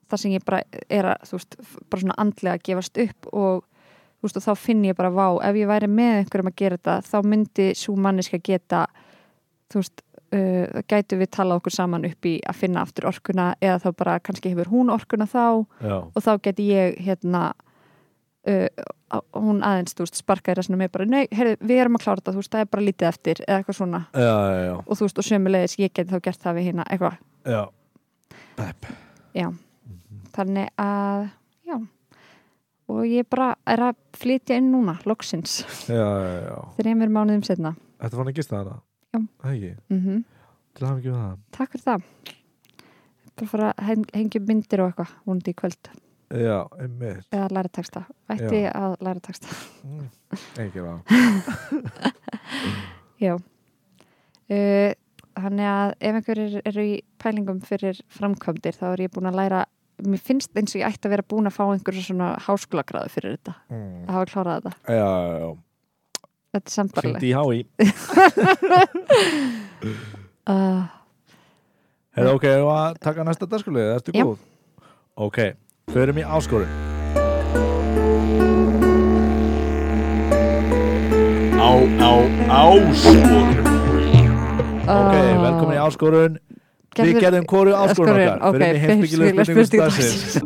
A: það sem ég bara er að þú veist, f- bara svona andlega að gefast upp og þú veist og þá finn ég bara vá ef ég væri með einhverjum að gera þetta þá myndi svo manneska geta þú veist, uh, það gætu við tala okkur saman upp í að finna aftur orkuna eða þá bara kannski hefur hún orkuna þá
B: já,
A: og þá geti ég hérna uh, á- hún aðeins, þú veist, sparkaði resnum með bara, nei, heyrðu, við erum að klára þetta, þú veist, það er bara lítið eftir eða eitthvað svona
B: já, já, já,
A: og þú veist, og sömulegis, ég geti þá gert það við hérna eitthvað,
B: já. Pepp.
A: þannig að já, og ég bara er að flytja inn núna, loksins
B: Já, já, já
A: þreymir mánuðum setna
B: Þetta var hann að gista hana?
A: Já.
B: Það ekki,
A: mm
B: til að hafa ekki með það
A: takk fyrir það bara að fara að heng- hengja upp myndir og eitthvað, vonandi í kvöld
B: Já, einmitt
A: eða læra texta, ætti að læra texta
B: Mm, Ekki það
A: Já Eh, Þannig að ef einhverjir eru í pælingum fyrir framkvæmdir þá er ég búin að læra mér finnst eins og ég ætti að vera búin að fá einhverju svona háskólagráðu fyrir þetta
B: mm.
A: að hafa klárað þetta,
B: Já, já, já
A: þetta er sambarleg
B: Hringdi í hái
A: (laughs) uh,
B: Hefðu ok, hefðu að taka næsta dagskulið, ertu
A: Já.
B: góð? Ok, förum í áskorun Á, á, áskorun
A: Ah.
B: Ok, velkomin í áskorun Við gerðum hvoru áskorun okkar Förum í heimsbyggilega spurningu staðsins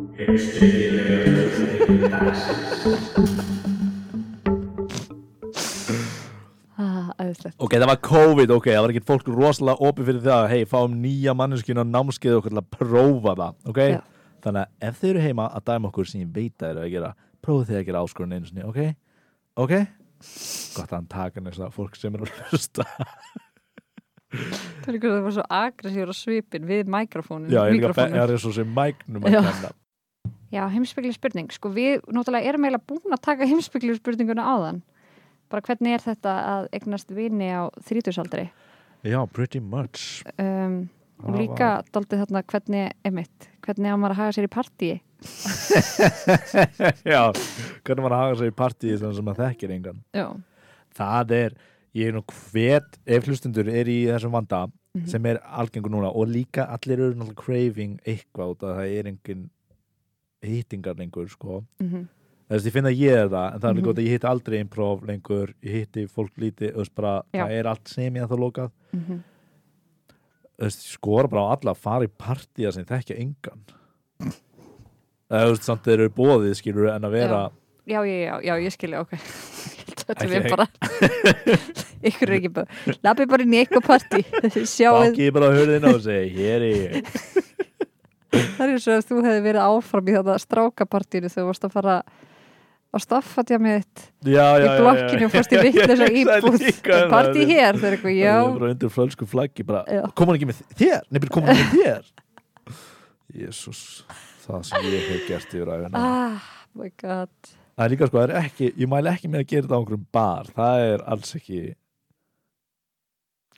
A: Ah, Æðislegt
B: Ok, það var COVID, ok, það var ekki fólk rosalega opið fyrir það, hei, fáum nýja manneskinu á námskeið og okkur til að prófa það, ok?
A: Já.
B: Þannig að ef þau eru heima að dæma okkur sem ég veit að þeir eru að gera, prófið þið að gera áskorun einu sinni, ok? Ok? Gott að hann taka næst að fólk sem er að hlusta.
A: Það er ykkur að það var svo agressíur á svipin við mikrofónin
B: Já, ég er líka að það er svo sem mæknum að
A: Já.
B: kenna.
A: Já, heimsbyggli spurning. Sko við náttúrulega erum eiginlega búin að taka heimsbyggli spurninguna áðan. Bara hvernig er þetta að eignast vini á þrítusaldri?
B: Já, pretty much.
A: Um, og
B: Það
A: líka daldið þarna hvernig, emitt, hvernig á maður að haga sér í partíi?
B: (laughs) Já, hvernig var að haga sig í partíi þannig sem að þekkir engan.
A: Já.
B: það er, ég er nú hvet ef hlustundur er í þessum vanda
A: Mhm.
B: sem er algengur núna og líka allir eru náttúrulega craving eitthvað út að það er engin hittingar lengur sko
A: Mm
B: þess að ég finna að ég er það, en það er líka
A: Mhm.
B: gott að ég hitti aldrei improv lengur, ég hitti fólk lítið þú veist bara,
A: Já.
B: það er allt sem ég að það lokað
A: mm -hmm.
B: þú veist, ég skora bara á alla að fara í partíja sem þekkja engan
A: (laughs)
B: eða þú veist, samt þeir eru bóðið skilur en að vera,
A: Já, já, já, já, ég skilja, ok. (laughs) þetta
B: Ekki-
A: er bara, ykkur er ekki bara, lappi bara inn í eitthvað partí, sjáuð,
B: bakið bara hurðin á og segja, hér er ég
A: það er svo að þú hefði verið áfram í þetta strákapartínu þegar þú varst að fara á staffatja mitt
B: já,
A: í
B: já, já,
A: blokkinu og
B: (laughs)
A: fórst í vittlösa íbúð partí hér, það er eitthvað,
B: já ég
A: já
B: bara undir flölsku flaggi bara,
A: Já.
B: kom hann ekki með þér, nefnir kom hann
A: (laughs)
B: ekki með þér Jésús það sem ég hef gert yfir æfina
A: ah, my god
B: það er líka sko, það er ekki, ég mæli ekki með að gera þetta á einhverjum bar, það er alls ekki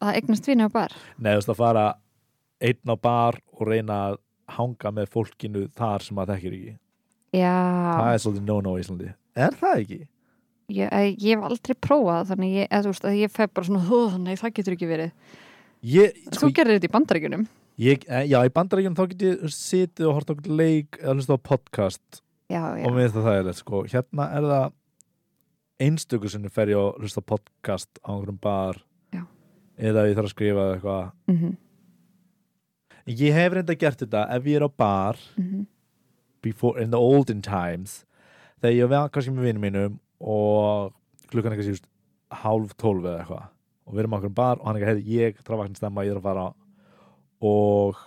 A: það eignast vinna á bar
B: neðast að fara einn á bar og reyna að hanga með fólkinu þar sem að þekkir ekki
A: já, Ah.
B: það er svolítið no-no í Íslandi, er það ekki?
A: ég, eh, ég hef aldrei prófað þannig ég, eða, þú veist, að ég fef bara svona "Ugh, nei það getur ekki verið
B: Ég, sko,
A: þú gerir þetta Sko í bandaríkunum
B: ég, eh, já, í bandarækjum þá get ég sitið og hort okkur leik eða hlusta á podcast
A: já, já,
B: og mér finnst það þægilegt sko. hérna er það einstöku sinni fer ég að hlusta á podcast á einhverjum bar
A: Já.
B: eða ég þarf að skrifa eða eitthvað
A: mhm,
B: ég hef reynda gert þetta ef ég er á bar
A: mhm,
B: before, in the olden times þegar ég var kannski með vinnum mínum og klukkan er kannski just, hálf tólf eða eitthvað og við erum á einhverjum bar og hann er eitthvað "Heyrðu, ég þarf vakna stemma, ég þarf að fara og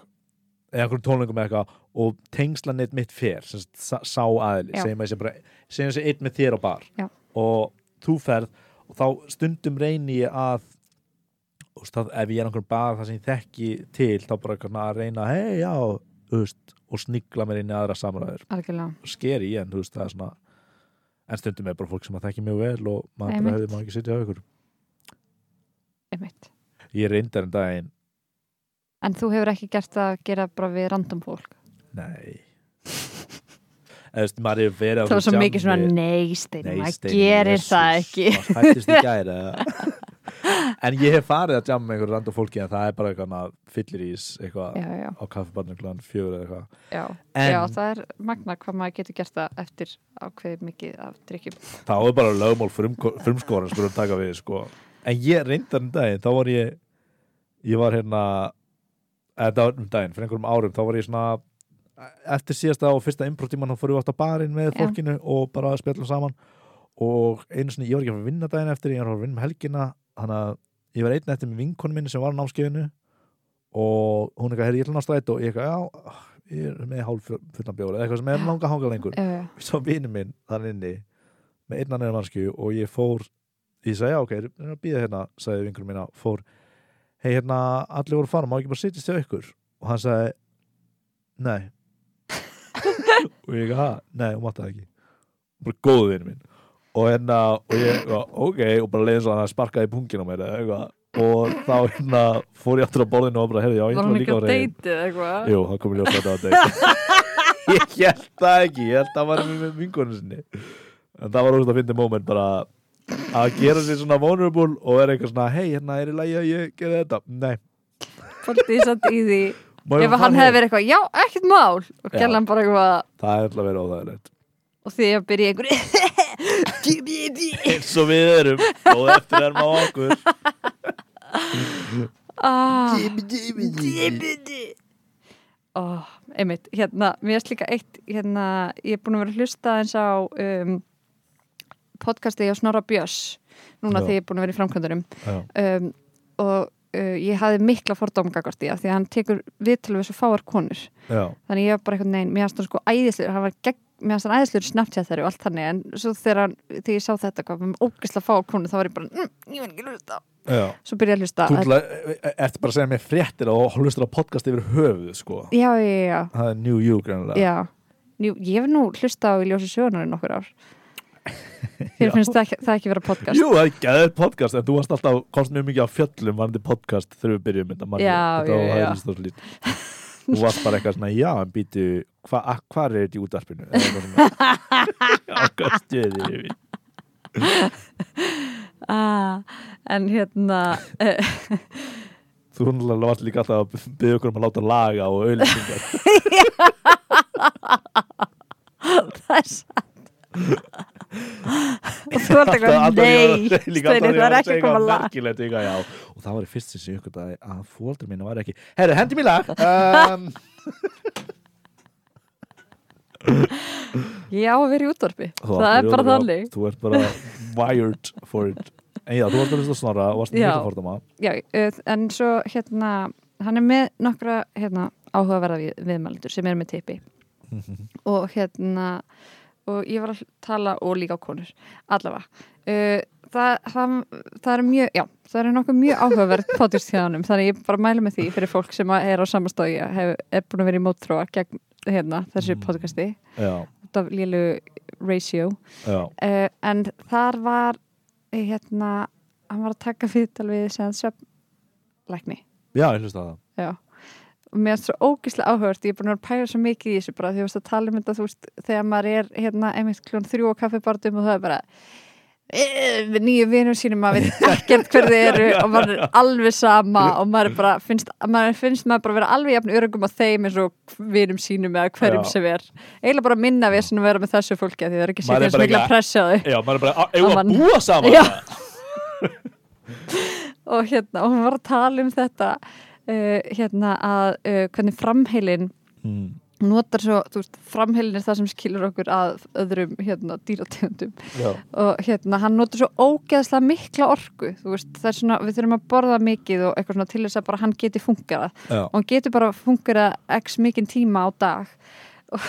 B: eða einhverjum tónlingum eða eitthvað og tengslanett mitt fer sem sagt, sá sá aðili,
A: Já.
B: segjum að ég sé bara segjum að ég sé einn með þér á bar
A: Já.
B: og þú ferð og þá stundum reyni ég að þú veist, það, ef ég er einhverjum bar það sem ég þekki til þá bara eitthvað svona að reyna hei já, þú veist og snigla mér inn í aðra samræður
A: algjörlega
B: skeri en þú veist það er svona en stundum er bara fólk sem að þekki mjög vel og maður bara
A: Einmitt.
B: hefði maður ekki sitja á ykkur
A: einmitt.
B: ég reyndar en daginn,
A: en þú hefur ekki gert það að gera bara við random fólk
B: nei (laughs) eða þú veist maður hefur verið á
A: það var svo
B: einhverju
A: mikið
B: jammi.
A: svona nei steinu, maður
B: Steini,
A: gerir
B: Jesus,
A: það ekki
B: (laughs) maður hættist í gæri
A: (laughs)
B: en ég hef farið að jamma með einhverju random fólki en það er bara eitthvað maður fyllir ís eitthvað
A: já, já,
B: á kaffibarnum klan fjögur eða eitthvað
A: já,
B: En-
A: já, það er magna hvað maður getur gert það eftir ákveðið mikið af drikkjum
B: þá er bara lögmál frumskoran spurum taka við sko. en ég reyndar um daginn þá var ég ég var hérna eða það var um daginn, fyrir einhverjum árum þá var ég svona eftir síðasta og fyrsta improtíman þá fór ég átt á barinn með
A: Já.
B: fólkinu og bara að spjalla saman og einu sinni, ég var ekki að fara að vinna daginn eftir ég var að fara að vinna um helgina þannig að ég var einn eftir með vinkonu minni sem var á námskefinu og hún eitthvað, herri, ég ætla að ná strætó og ég eitthvað, já, ég er með hálf fullan bjóra eða eitthvað sem er
A: Já.
B: langa að hanga lengur
A: já, já,
B: svo vinur minn þann inni með einnan eða mannskju og ég fór ég sagði já ok, erum að býða hérna sagði vingur mína, fór hei hérna, allir voru að fara, má ekki bara sittist hjá ykkur og hann sagði nei og ég ha, nei, hún mátti það ekki bara góðu vinur minn og hérna, og ég, eitthvað, ok og bara leiðin svo að hann sparkaði í pungin á mér eða eitthvað. og þá hérna fór ég aftur á borðinu og bara, heyrðu, já, ég
A: var
B: ætla
A: hún ekki
B: líka
A: að
B: vera einn."
A: deytið eitthvað
B: Jú, það kom í ljós að þetta var date (laughs) Ég held það ekki, ég held það var með vinkonu sinni En það var úrst að finna moment bara að gera sér svona vulnerable og vera eitthvað svona hei, hérna er í lagi að ég gera þetta Nei,
A: fólkið satt í
B: (laughs)
A: því
B: má ég
A: ef
B: fara
A: hann
B: hér?
A: hefði verið eitthvað, já, ekkert mál og
B: Já.
A: gerði hann bara eitthvað
B: Það er alltaf að vera óþægilegt
A: og því að byrja í (laughs) einhverju
B: Eins og við erum og eftir erum á okkur
A: ah,
B: Ég
A: oh, einmitt, hérna mér er líka eitt, hérna ég er búin að vera að hlusta eins á um, podcastið á Snorra Björs núna
B: Já.
A: því ég er búin að vera í framkvæmdurum um, og uh, ég hafði mikla fordómgagvart í það því að hann tekur viðtölu við svo fáar konur
B: Já,
A: þannig ég var bara eitthvað neginn, mér fannst hann sko æðislegur hann var gegn, mér fannst hann æðislegur snapchatari og allt þannig en svo þegar, hann, þegar ég sá þetta hvað, með ógæsla fá konu, þá var ég bara mm, ég veit ekki að hlusta,
B: já
A: svo byrja ég að hlusta
B: Þú ætla- ert bara að segja mér fréttir og hlustur á podcast yfir höfuð, sko
A: já, já, já, já,
B: Það er New You, grannlega
A: já. Jú, ég hef nú hlusta á í ljósi sögunar í
B: (laughs)
A: nokkur ár þér
B: Já.
A: finnst það ekki, það ekki vera podcast
B: Jú, það er gæðið podcast en þú varst alltaf, komst mjög mikið á fjöllum varandi podcast þegar við byrjum þetta manni,
A: Já,
B: þetta
A: já,
B: var
A: já.
B: hæðist og slít Þú varst bara eitthvað svona, já, en býtu hvað hva er þetta í útarpinu? Eða eitthvað svona.
A: (laughs)
B: Já, hvað stjöðið ég við
A: ah, en hérna (laughs) eh,
B: Þú náttúrulega varst líka alltaf að byggja okkur um að láta laga og auðlýsingar
A: (laughs) það er satt og þú ert eitthvað nei, Steini, það er ekki að koma lag
B: merkilegt, eitthvað, já. og það var í fyrst sem ég ykkur að fóldur mínu var ekki herru, hendi mér
A: (laughs)
B: lag um,
A: já, við erum í útvarpi,
B: Þú
A: það
B: átt
A: er bara
B: rjóður á-
A: þannig
B: Þú ert bara wired for it En já, þú varst að hlusta á snorra og varst
A: Já.
B: mjög að fordama
A: já, eh, en svo hérna hann er með nokkra hérna, áhugaverða við, viðmælendur sem er með teipi og hérna og ég var að tala og líka á konur allavega uh, það, það, það er mjög, já, það er nokkuð mjög áhugaverð podcast hjá honum, þannig ég bara mælu með því fyrir fólk sem að er á samastói hef, er búin að vera í mótróa gegn hérna, þessu
B: Mm.
A: podcasti,
B: Já,
A: þetta lélu ratio
B: já,
A: uh, en þar var eh, hérna, hann var að taka viðtal við sem svefnlækni
B: já, ég hlusta á það
A: já og mér er svo ógislega áhört, ég er búin að vera að pæra svo mikið í þessu bara því að þú veist að tala um þetta þú veist, þegar maður er hérna einmitt klón þrjú á kaffibardum og það er bara eh, við nýju vinum sínum maður veit ekkert hver þið eru og maður er alveg sama og maður er bara finnst maður finnst maður bara vera alveg jafn örugum á þeim eins og vinum sínum eða hverjum
B: Já.
A: sem er eiginlega bara minna við sem vera með þessu fólki af því það er ekki
B: Maður er
A: sér þess mikla
B: bara
A: pressa á þau
B: Já, maður er bara, "Á, eigum við að
A: Saman.
B: búa saman
A: Já. (laughs) og hérna, og hún var að tala um þetta uh, hérna að uh, hvernig framheilin
B: Mm.
A: notar svo, þú veist, framheilin er það sem skilur okkur að öðrum hérna dýrategundum
B: Já.
A: og hérna, hann notur svo ógeðslega mikla orku, þú veist, það er svona við þurfum að borða mikið og eitthvað svona til þess að bara hann geti fungerað
B: Já.
A: og hann getur bara fungerað x mikinn tíma á dag og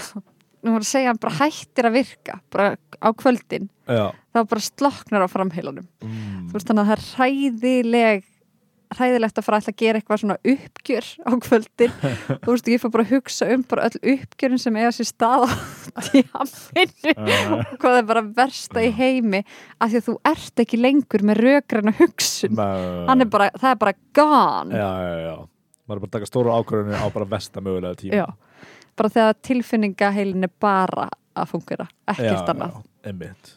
A: nú var að segja hann bara hættir að virka, bara á kvöldin
B: Já.
A: þá bara sloknar á framheilanum
B: Mm.
A: þú veist þannig að það er hræðileg hræðilegt að fara að ætla að gera eitthvað svona uppgjör á
B: (laughs)
A: kvöldin þú veist ég fór bara að hugsa um bara öll uppgjörin sem eiga sér stað á tíminu hvað er bara versta í heimi af því að þú ert ekki lengur með rökrenna hugsun Hann er
B: Hann
A: bara, það er bara gone
B: Já, já, já. Maður er bara að taka stóra ákvörðinu á bara vesta mögulega tíma.
A: Já. bara þegar tilfinningaheilin er bara að fungera, ekkert
B: Já,
A: annað
B: já, Einmitt.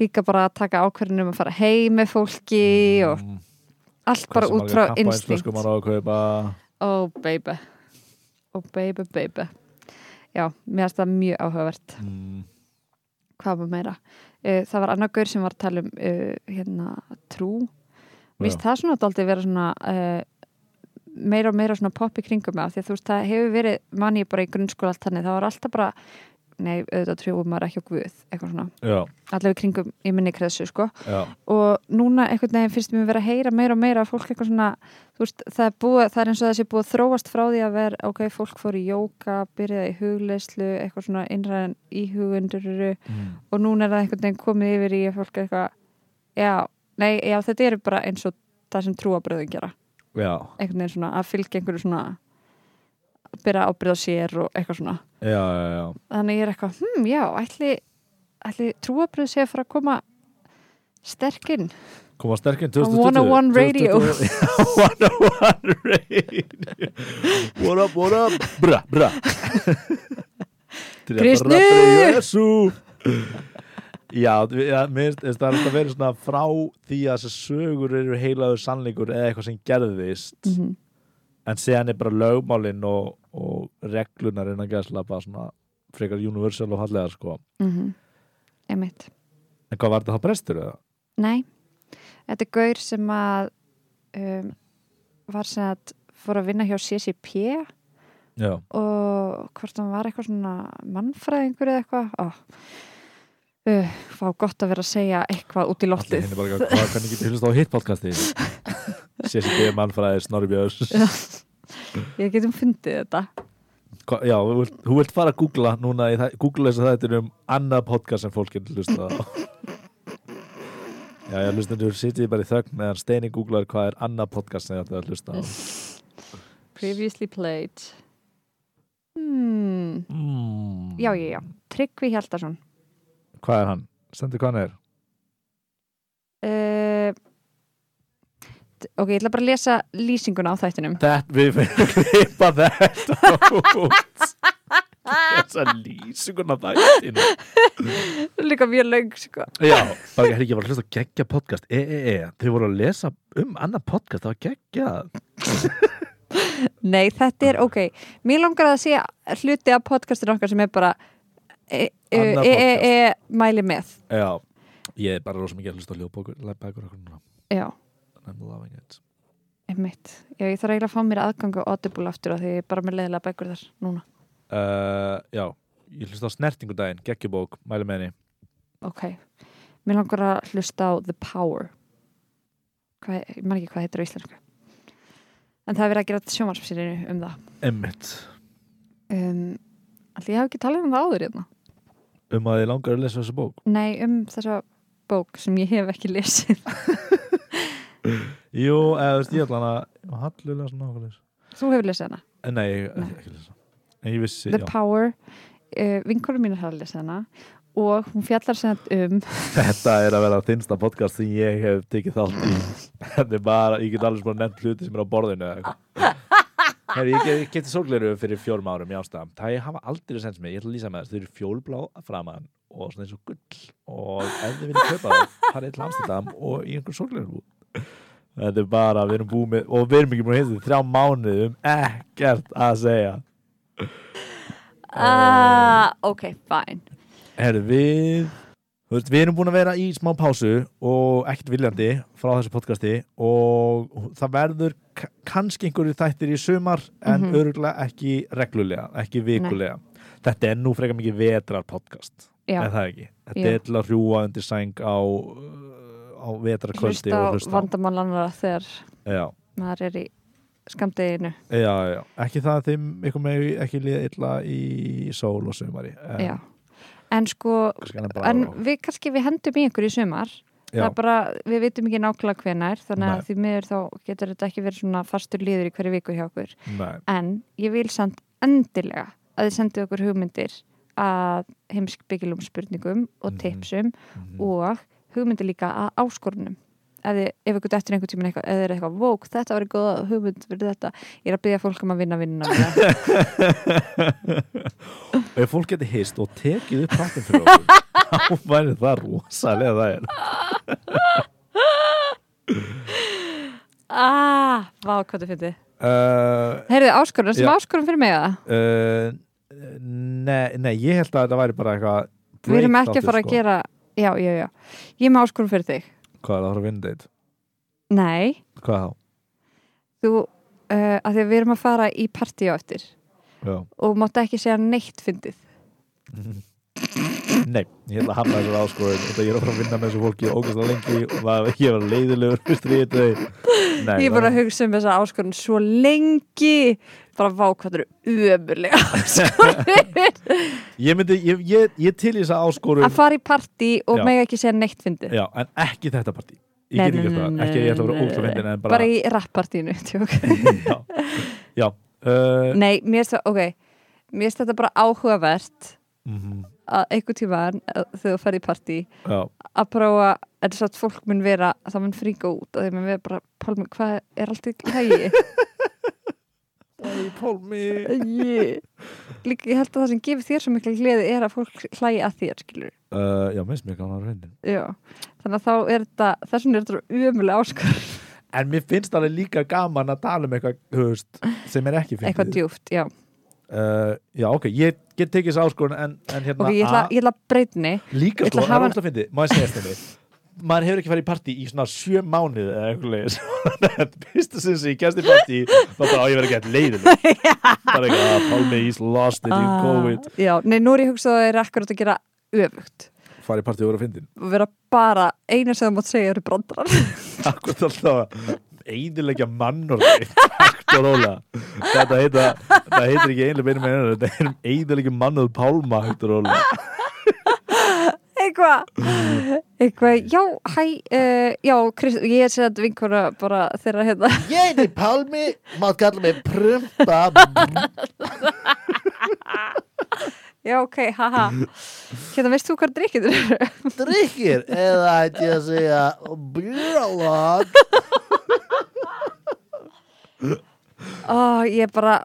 A: líka bara að taka ákvörðin um að fara heim með fólki og
B: Mm.
A: allt bara út frá instinkt
B: Hvað sem alveg kappa eins flöskum maður á að kaupa.
A: Oh baby Oh baby baby Já, mér finnst það mjög áhugavert
B: Mm.
A: Hvað var meira? Uh, það var annar gaur sem var að tala um uh, hérna, trú Mér finnst það svona daldið vera svona uh, meira og meira svona popp í kringum mig af því að þú veist, það hefur verið manni bara í grunnskóla allt þannig, það var alltaf bara nei, auðvitað trúum maður ekki á guð eitthvað svona,
B: Já,
A: allavega í kringum í minni kreðsu, sko
B: já.
A: og núna einhvern veginn finnst mér vera að heyra meira og meira að fólk eitthvað svona, þú veist, það er, búið, það er eins og það sé búið að þróast frá því að vera, ok, fólk fór í jóka, byrjaði í hugleyslu, eitthvað svona innræðan íhugundur
B: Mm.
A: og núna er það einhvern veginn komið yfir í að fólk er eitthvað, já, nei, já, þetta eru bara eins og það sem trúabröðin gera,
B: Já,
A: einhvern veginn svona að fylgja einhverju svona, byrja ábyrða sér og eitthvað svona
B: já, já, já.
A: þannig ég er eitthvað, hm, já, ætli, ætli trúabröð sé að fara að koma sterkinn
B: Koma sterkinn
A: On
B: 2020.
A: 101 radio.
B: (laughs) 101 radio. What up, what up? Bra, bra. Til að
A: Kristni!
B: brabba í Jesú. Já, við- já, mér finnst það er alltaf verið svona frá því að þessi sögur eru heilaður sannleikur eða eitthvað sem gerðist
A: mm
B: en séðan er bara lögmálin og, og reglunar innan gæðslapa svona frekar universal og hallega sko.
A: mm Einmitt.
B: En hvað var þetta þá prestur eða?
A: Nei, þetta er gaur sem að um, var sem að fór að vinna hjá CCP
B: Já,
A: og hvort hann var eitthvað svona mannfræðingur eða eitthvað Ó, uh, fá gott að vera að segja eitthvað út í
B: allir
A: loftið
B: henni bara hvað, hvernig getur hlust á hitt podcasti? Sér sem ég mannfræði Snorri Björns.
A: Ég getum fundið þetta
B: Hva, já, þú vilt, þú vilt fara að googla núna, í þæ- googla þess að þetta er um annað podcast sem fólk getur hlust á. Já, já, hlustendur, sitjið bara í þögn meðan Steini googlar hvað er annað podcast sem þetta er að hlusta á.
A: Previously played hmm.
B: Mm.
A: Já, já, já Tryggvi Hjaldarsson
B: Hvað er hann? Stendur hvað hann er?
A: uh, d- Ok, ég ætla bara að lesa lýsinguna á þættinum
B: Þetta, við finnum klippa þetta út Þessa lýsingun af þættinu
A: (laughs) Líka mjög löng, sko
B: Já, bara herri, ég var að hlusta á geggja podcast e, e, e, þau voru að lesa um annan podcast, það var geggja
A: Nei, þetta er ok. Mér langar að segja hluti af podcastinu okkar sem er bara e, e,
B: Annað
A: e, e, e mæli með.
B: Já, ég er bara rosa mikið að hlusta á ljóðbækur bækur okkur núna,
A: Já,
B: I'm loving it
A: einmitt. Já, ég þarf eiginlega að fá mér aðgang á Audible aftur af því ég er bara með leiðilega bækur þar núna.
B: uh, Já, ég hlusta á snertingudaginn geggjubók, mæli með henni
A: Ok. Mér langar að hlusta á The Power. Hvað, ég man ekki hvað heitir á íslensku. En það er verið að gera sjónvarsfyririnu um það.
B: Emmitt,
A: Um, Allt ég hef ekki talað um það áður hérna.
B: um að þið langar að lesa þessu bók
A: Nei, um þessa bók sem ég hef ekki lesið.
B: Jú, eða þú veist, ég ætla hann að hallulega svona okkur leys
A: Þú hefur lesið hana.
B: Nei, ekki, ekki lesa En ég vissi,
A: The
B: já
A: Power uh, vinkonum mín er að lesa hana og hún fjallar sem sagt um
B: Þetta er að vera þinnsta podcast sem ég hef tekið þátt í Þetta er bara, ég get alveg svona nefnt hluti sem er á borðinu Heri, Ég get, geti sólgleru fyrir fjórum árum í ástæðum Það ég hafa aldrei sens mig, ég ætla að lýsa með þess Þau eru fjólblá framan og svona eins og gull og ef þið viljið kaupa það farið til Amsterdam og í einhvern sólglerabúð þetta er bara, við erum búið með og við erum ekki búin að heita þrjá mánuðum ekkert að segja
A: Ah, ok, fine
B: Herðu, við þú veist, við erum búin að vera í smá pásu og ekkert viljandi frá þessu podcasti og það verður ka- kannski einhverju þættir í sumar en mm
A: Mhm.
B: ekki reglulega, ekki vikulega þetta er nú frekar mikið vetrar podcast er
A: Já,
B: það ekki? Þetta
A: Jú.
B: er til að hrjúa undir sæng á, uh, á
A: hlusta
B: vetrarkvöldi
A: á
B: og hlusta á-
A: vandamálanara þegar
B: Já,
A: maður er í skamdeginu
B: já, já, ekki það að þeim ykkur með ekki liða illa í sól og sumari en,
A: Já, en sko
B: kannski hann er bara
A: en
B: á-
A: við kannski við hendum í einhverju í sumar það
B: já,
A: er bara, við vitum ekki nákvæmlega hvenær þannig að
B: Nei.
A: því miður þá getur þetta ekki verið svona fastur líður í hverju viku hjá okkur
B: nei,
A: en ég vil samt endilega að þið sendið okkur hugmyndir að heimskbyggilum spurningum og
B: Mhm.
A: tipsum
B: mhm,
A: og hugmyndir líka að áskorunum ef, þið, ef ykkur dettur einhvern tímann eitthvað eða er eitthvað, vók, þetta var góða hugmynd fyrir þetta, ég er að byggja fólk um að vinna vinna
B: (laughs)
A: vinna.
B: og ef fólk getur hist og tekið upp hattin fyrir (laughs) okkur þá væri það rosalega það er
A: ah, vá, hvað þið fyndið
B: uh,
A: heyrðu, áskorun, sem
B: Já.
A: áskorun fyrir mig eða?
B: uh, nei, nei, ég held að þetta væri bara eitthvað
A: Við erum ekki
B: breakþáttur,
A: að fara
B: sko.
A: að gera Já, já, já, ég er með áskorun fyrir þig
B: hvað er það að fara að vinna þeitt?
A: Nei,
B: hvað þá?
A: þú uh, að því að við erum að fara í partí á eftir
B: Já.
A: og máttu ekki segja neitt fyndið
B: Nei, ég ætla að hamla þessar áskorun og það ég er að fara að vinna með þessu fólki ógæst að lengi og það ég var leiðilegur stríðið þau Nei,
A: Ég er bara að hugsa um þessa áskorun svo lengi bara vá hvað það eru
B: (laughs)
A: ömurlega áskorun
B: ég myndi, ég, ég, ég til í þessa áskorun
A: að fara í partí og
B: Já.
A: mega ekki segja neitt fyndið
B: Já, en ekki þetta partí Ég
A: Nei,
B: get ekki
A: nei,
B: gert það,
A: nei,
B: ekki að ég ætla að
A: nei,
B: vera ógæst að
A: nei,
B: vinna en
A: bara,
B: bara,
A: í rappartínu (laughs) tjók.
B: já, já uh,
A: Nei, mér er það, ok Mér er þetta bara áhugavert
B: mhm,
A: að einhver tíman þegar þú ferð í partí
B: Já,
A: að prófa er þess að fólk mun vera það mun fríka út og þeim mun vera bara pálmi, hvað er allt í
B: (laughs)
A: hægi
B: Æ, Pálmi
A: líka ég held að það sem gefur þér svo mikla gleði er að fólk hlægi að þér skilur
B: uh, Já, minnst mér gaman að reyndin
A: Já. þannig að þá er þetta þess vegna er þetta svo umulega áskar
B: (laughs) En mér finnst alveg líka gaman að tala um eitthvað, þú veist, sem er ekki
A: eitthvað
B: fyndið
A: djúft, já
B: uh, Já, ok, ég get tekið þessa áskorun en, en hérna
A: ok, ég ætla,
B: að-
A: ég ætla að breytni
B: Líka
A: Ég ætla að
B: sko, það
A: hafa
B: er
A: hann-
B: óslega fyndið, má ég segja þetta mig maður hefur ekki farið í partí í svona sjö mánuð eða eitthvað leiðis þetta (laughs) fyrsta sinns sem ég gæst í partí þá bara á ég verið að geta leiðileg (laughs) bara eitthvað að Pálmi Ís lost it in
A: Ah.
B: COVID
A: já, nei, nú er ég hugsað að það er akkurat að gera öfugt
B: farið í partí og verið að fyndin
A: og vera bara, eina sem þú mátt segja eru brandarar (laughs)
B: akkurat alltaf einilegja mannorði takt og róla þetta heita, það heitir ekki einlega beinum einhverjum þetta er um einilegja mannorð Pálma takt og róla
A: eitthvað eitthvað, já, hæ uh, já, Krist, ég er sér að vinkona bara þeirra hérna (laughs)
B: ég heiti Pálmi, maður kalla mig Prumpa
A: já, ok, haha hérna, veist þú hvað drikkið eru? (laughs)
B: drikkir eða ætti ég að segja björlag
A: ó, ég bara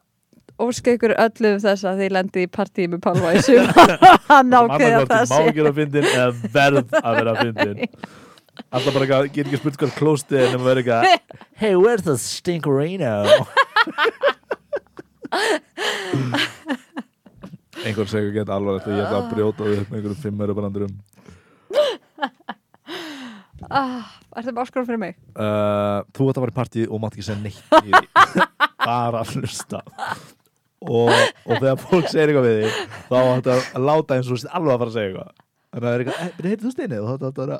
A: óska ykkur öllum þess að þið lendið í partíi með Pálma í sumar (laughs) hann ákveði að það
B: má
A: sé
B: ekki vera að fyndin eða verð að vera að fyndin
A: (laughs)
B: alltaf bara eitthvað, get ekki spurt hvað klósti en það verður eitthvað hey where's the
A: (laughs)
B: stinkerino einhver segur gett alvarlegt og ég ætla að brjóta þau upp með einhverjum fimmur og brandurum
A: ah, er það áskrón fyrir mig?
B: uh, þú ætti að fara í partíð og mátt ekki segja neitt í því bara að hlusta og, og þegar fólk segir eitthvað við því þá ætti að láta eins og þú sért alveg að fara að segja eitthvað en það er eitthvað, "Eh, byrju, heyrðu þú steinið og þá ætti að vera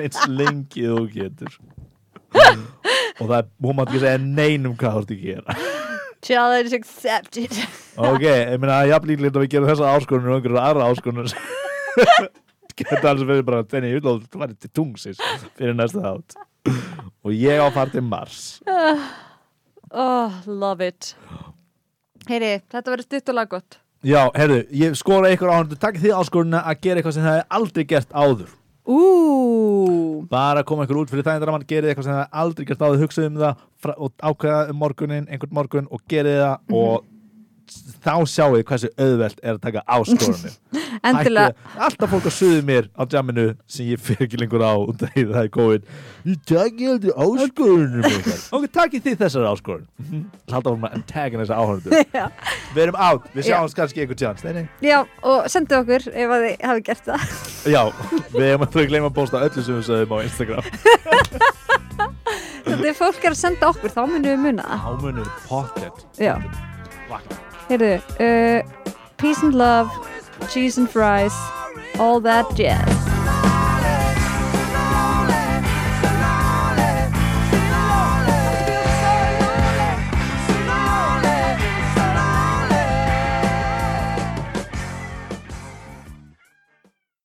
B: eins lengi þú getur og það er, hún mátt ekki segja neinum hvað þú ert að gera
A: challenge accepted
B: ok, ég meina það er jafn líklegt að við gerum þessa áskonun og einhverjar aðra áskonun (laughs) geta alls verið bara þenni, ég vil að þú væri til tungsis fyrir næsta þátt og ég á að fara til Mars
A: oh, love it heyri, þetta verður stutt og laggott
B: já, herðu, ég skora ykkur á hann takk því áskonuna að gera eitthvað sem það hefði aldrei gert áður
A: úúúú
B: bara koma ykkur út fyrir þægindramann gerið eitthvað sem það hefði aldrei gert áður, hugsaðu um það fra- og ákveða um morgunin, einhvern morgun og gerið það og þá sjáu þið hversu auðvelt er að taka áskorunum
A: endilega,
B: Hætti- alltaf fólk að suðu mér á jamminu sem ég fyrir ekki lengur á og það er COVID ég taki aldrei
A: (laughs)
B: áskorunum ykkar. ok, takið þið þessar áskorun Mhm. alltaf vorum að antagonisa
A: (laughs)
B: áhörðu
A: Já.
B: við erum átt, við
A: Já.
B: sjáumst kannski einhvern tjans nei, nei.
A: já, og sendu okkur ef að þið hafi gert það
B: já, við erum að þau gleyma að posta öllu sem við sögum á Instagram
A: þegar fólk er að senda okkur, þá munum við muna það
B: ámunum pottet
A: Já. heyrðu, uh, peace and love cheese and fries all that jazz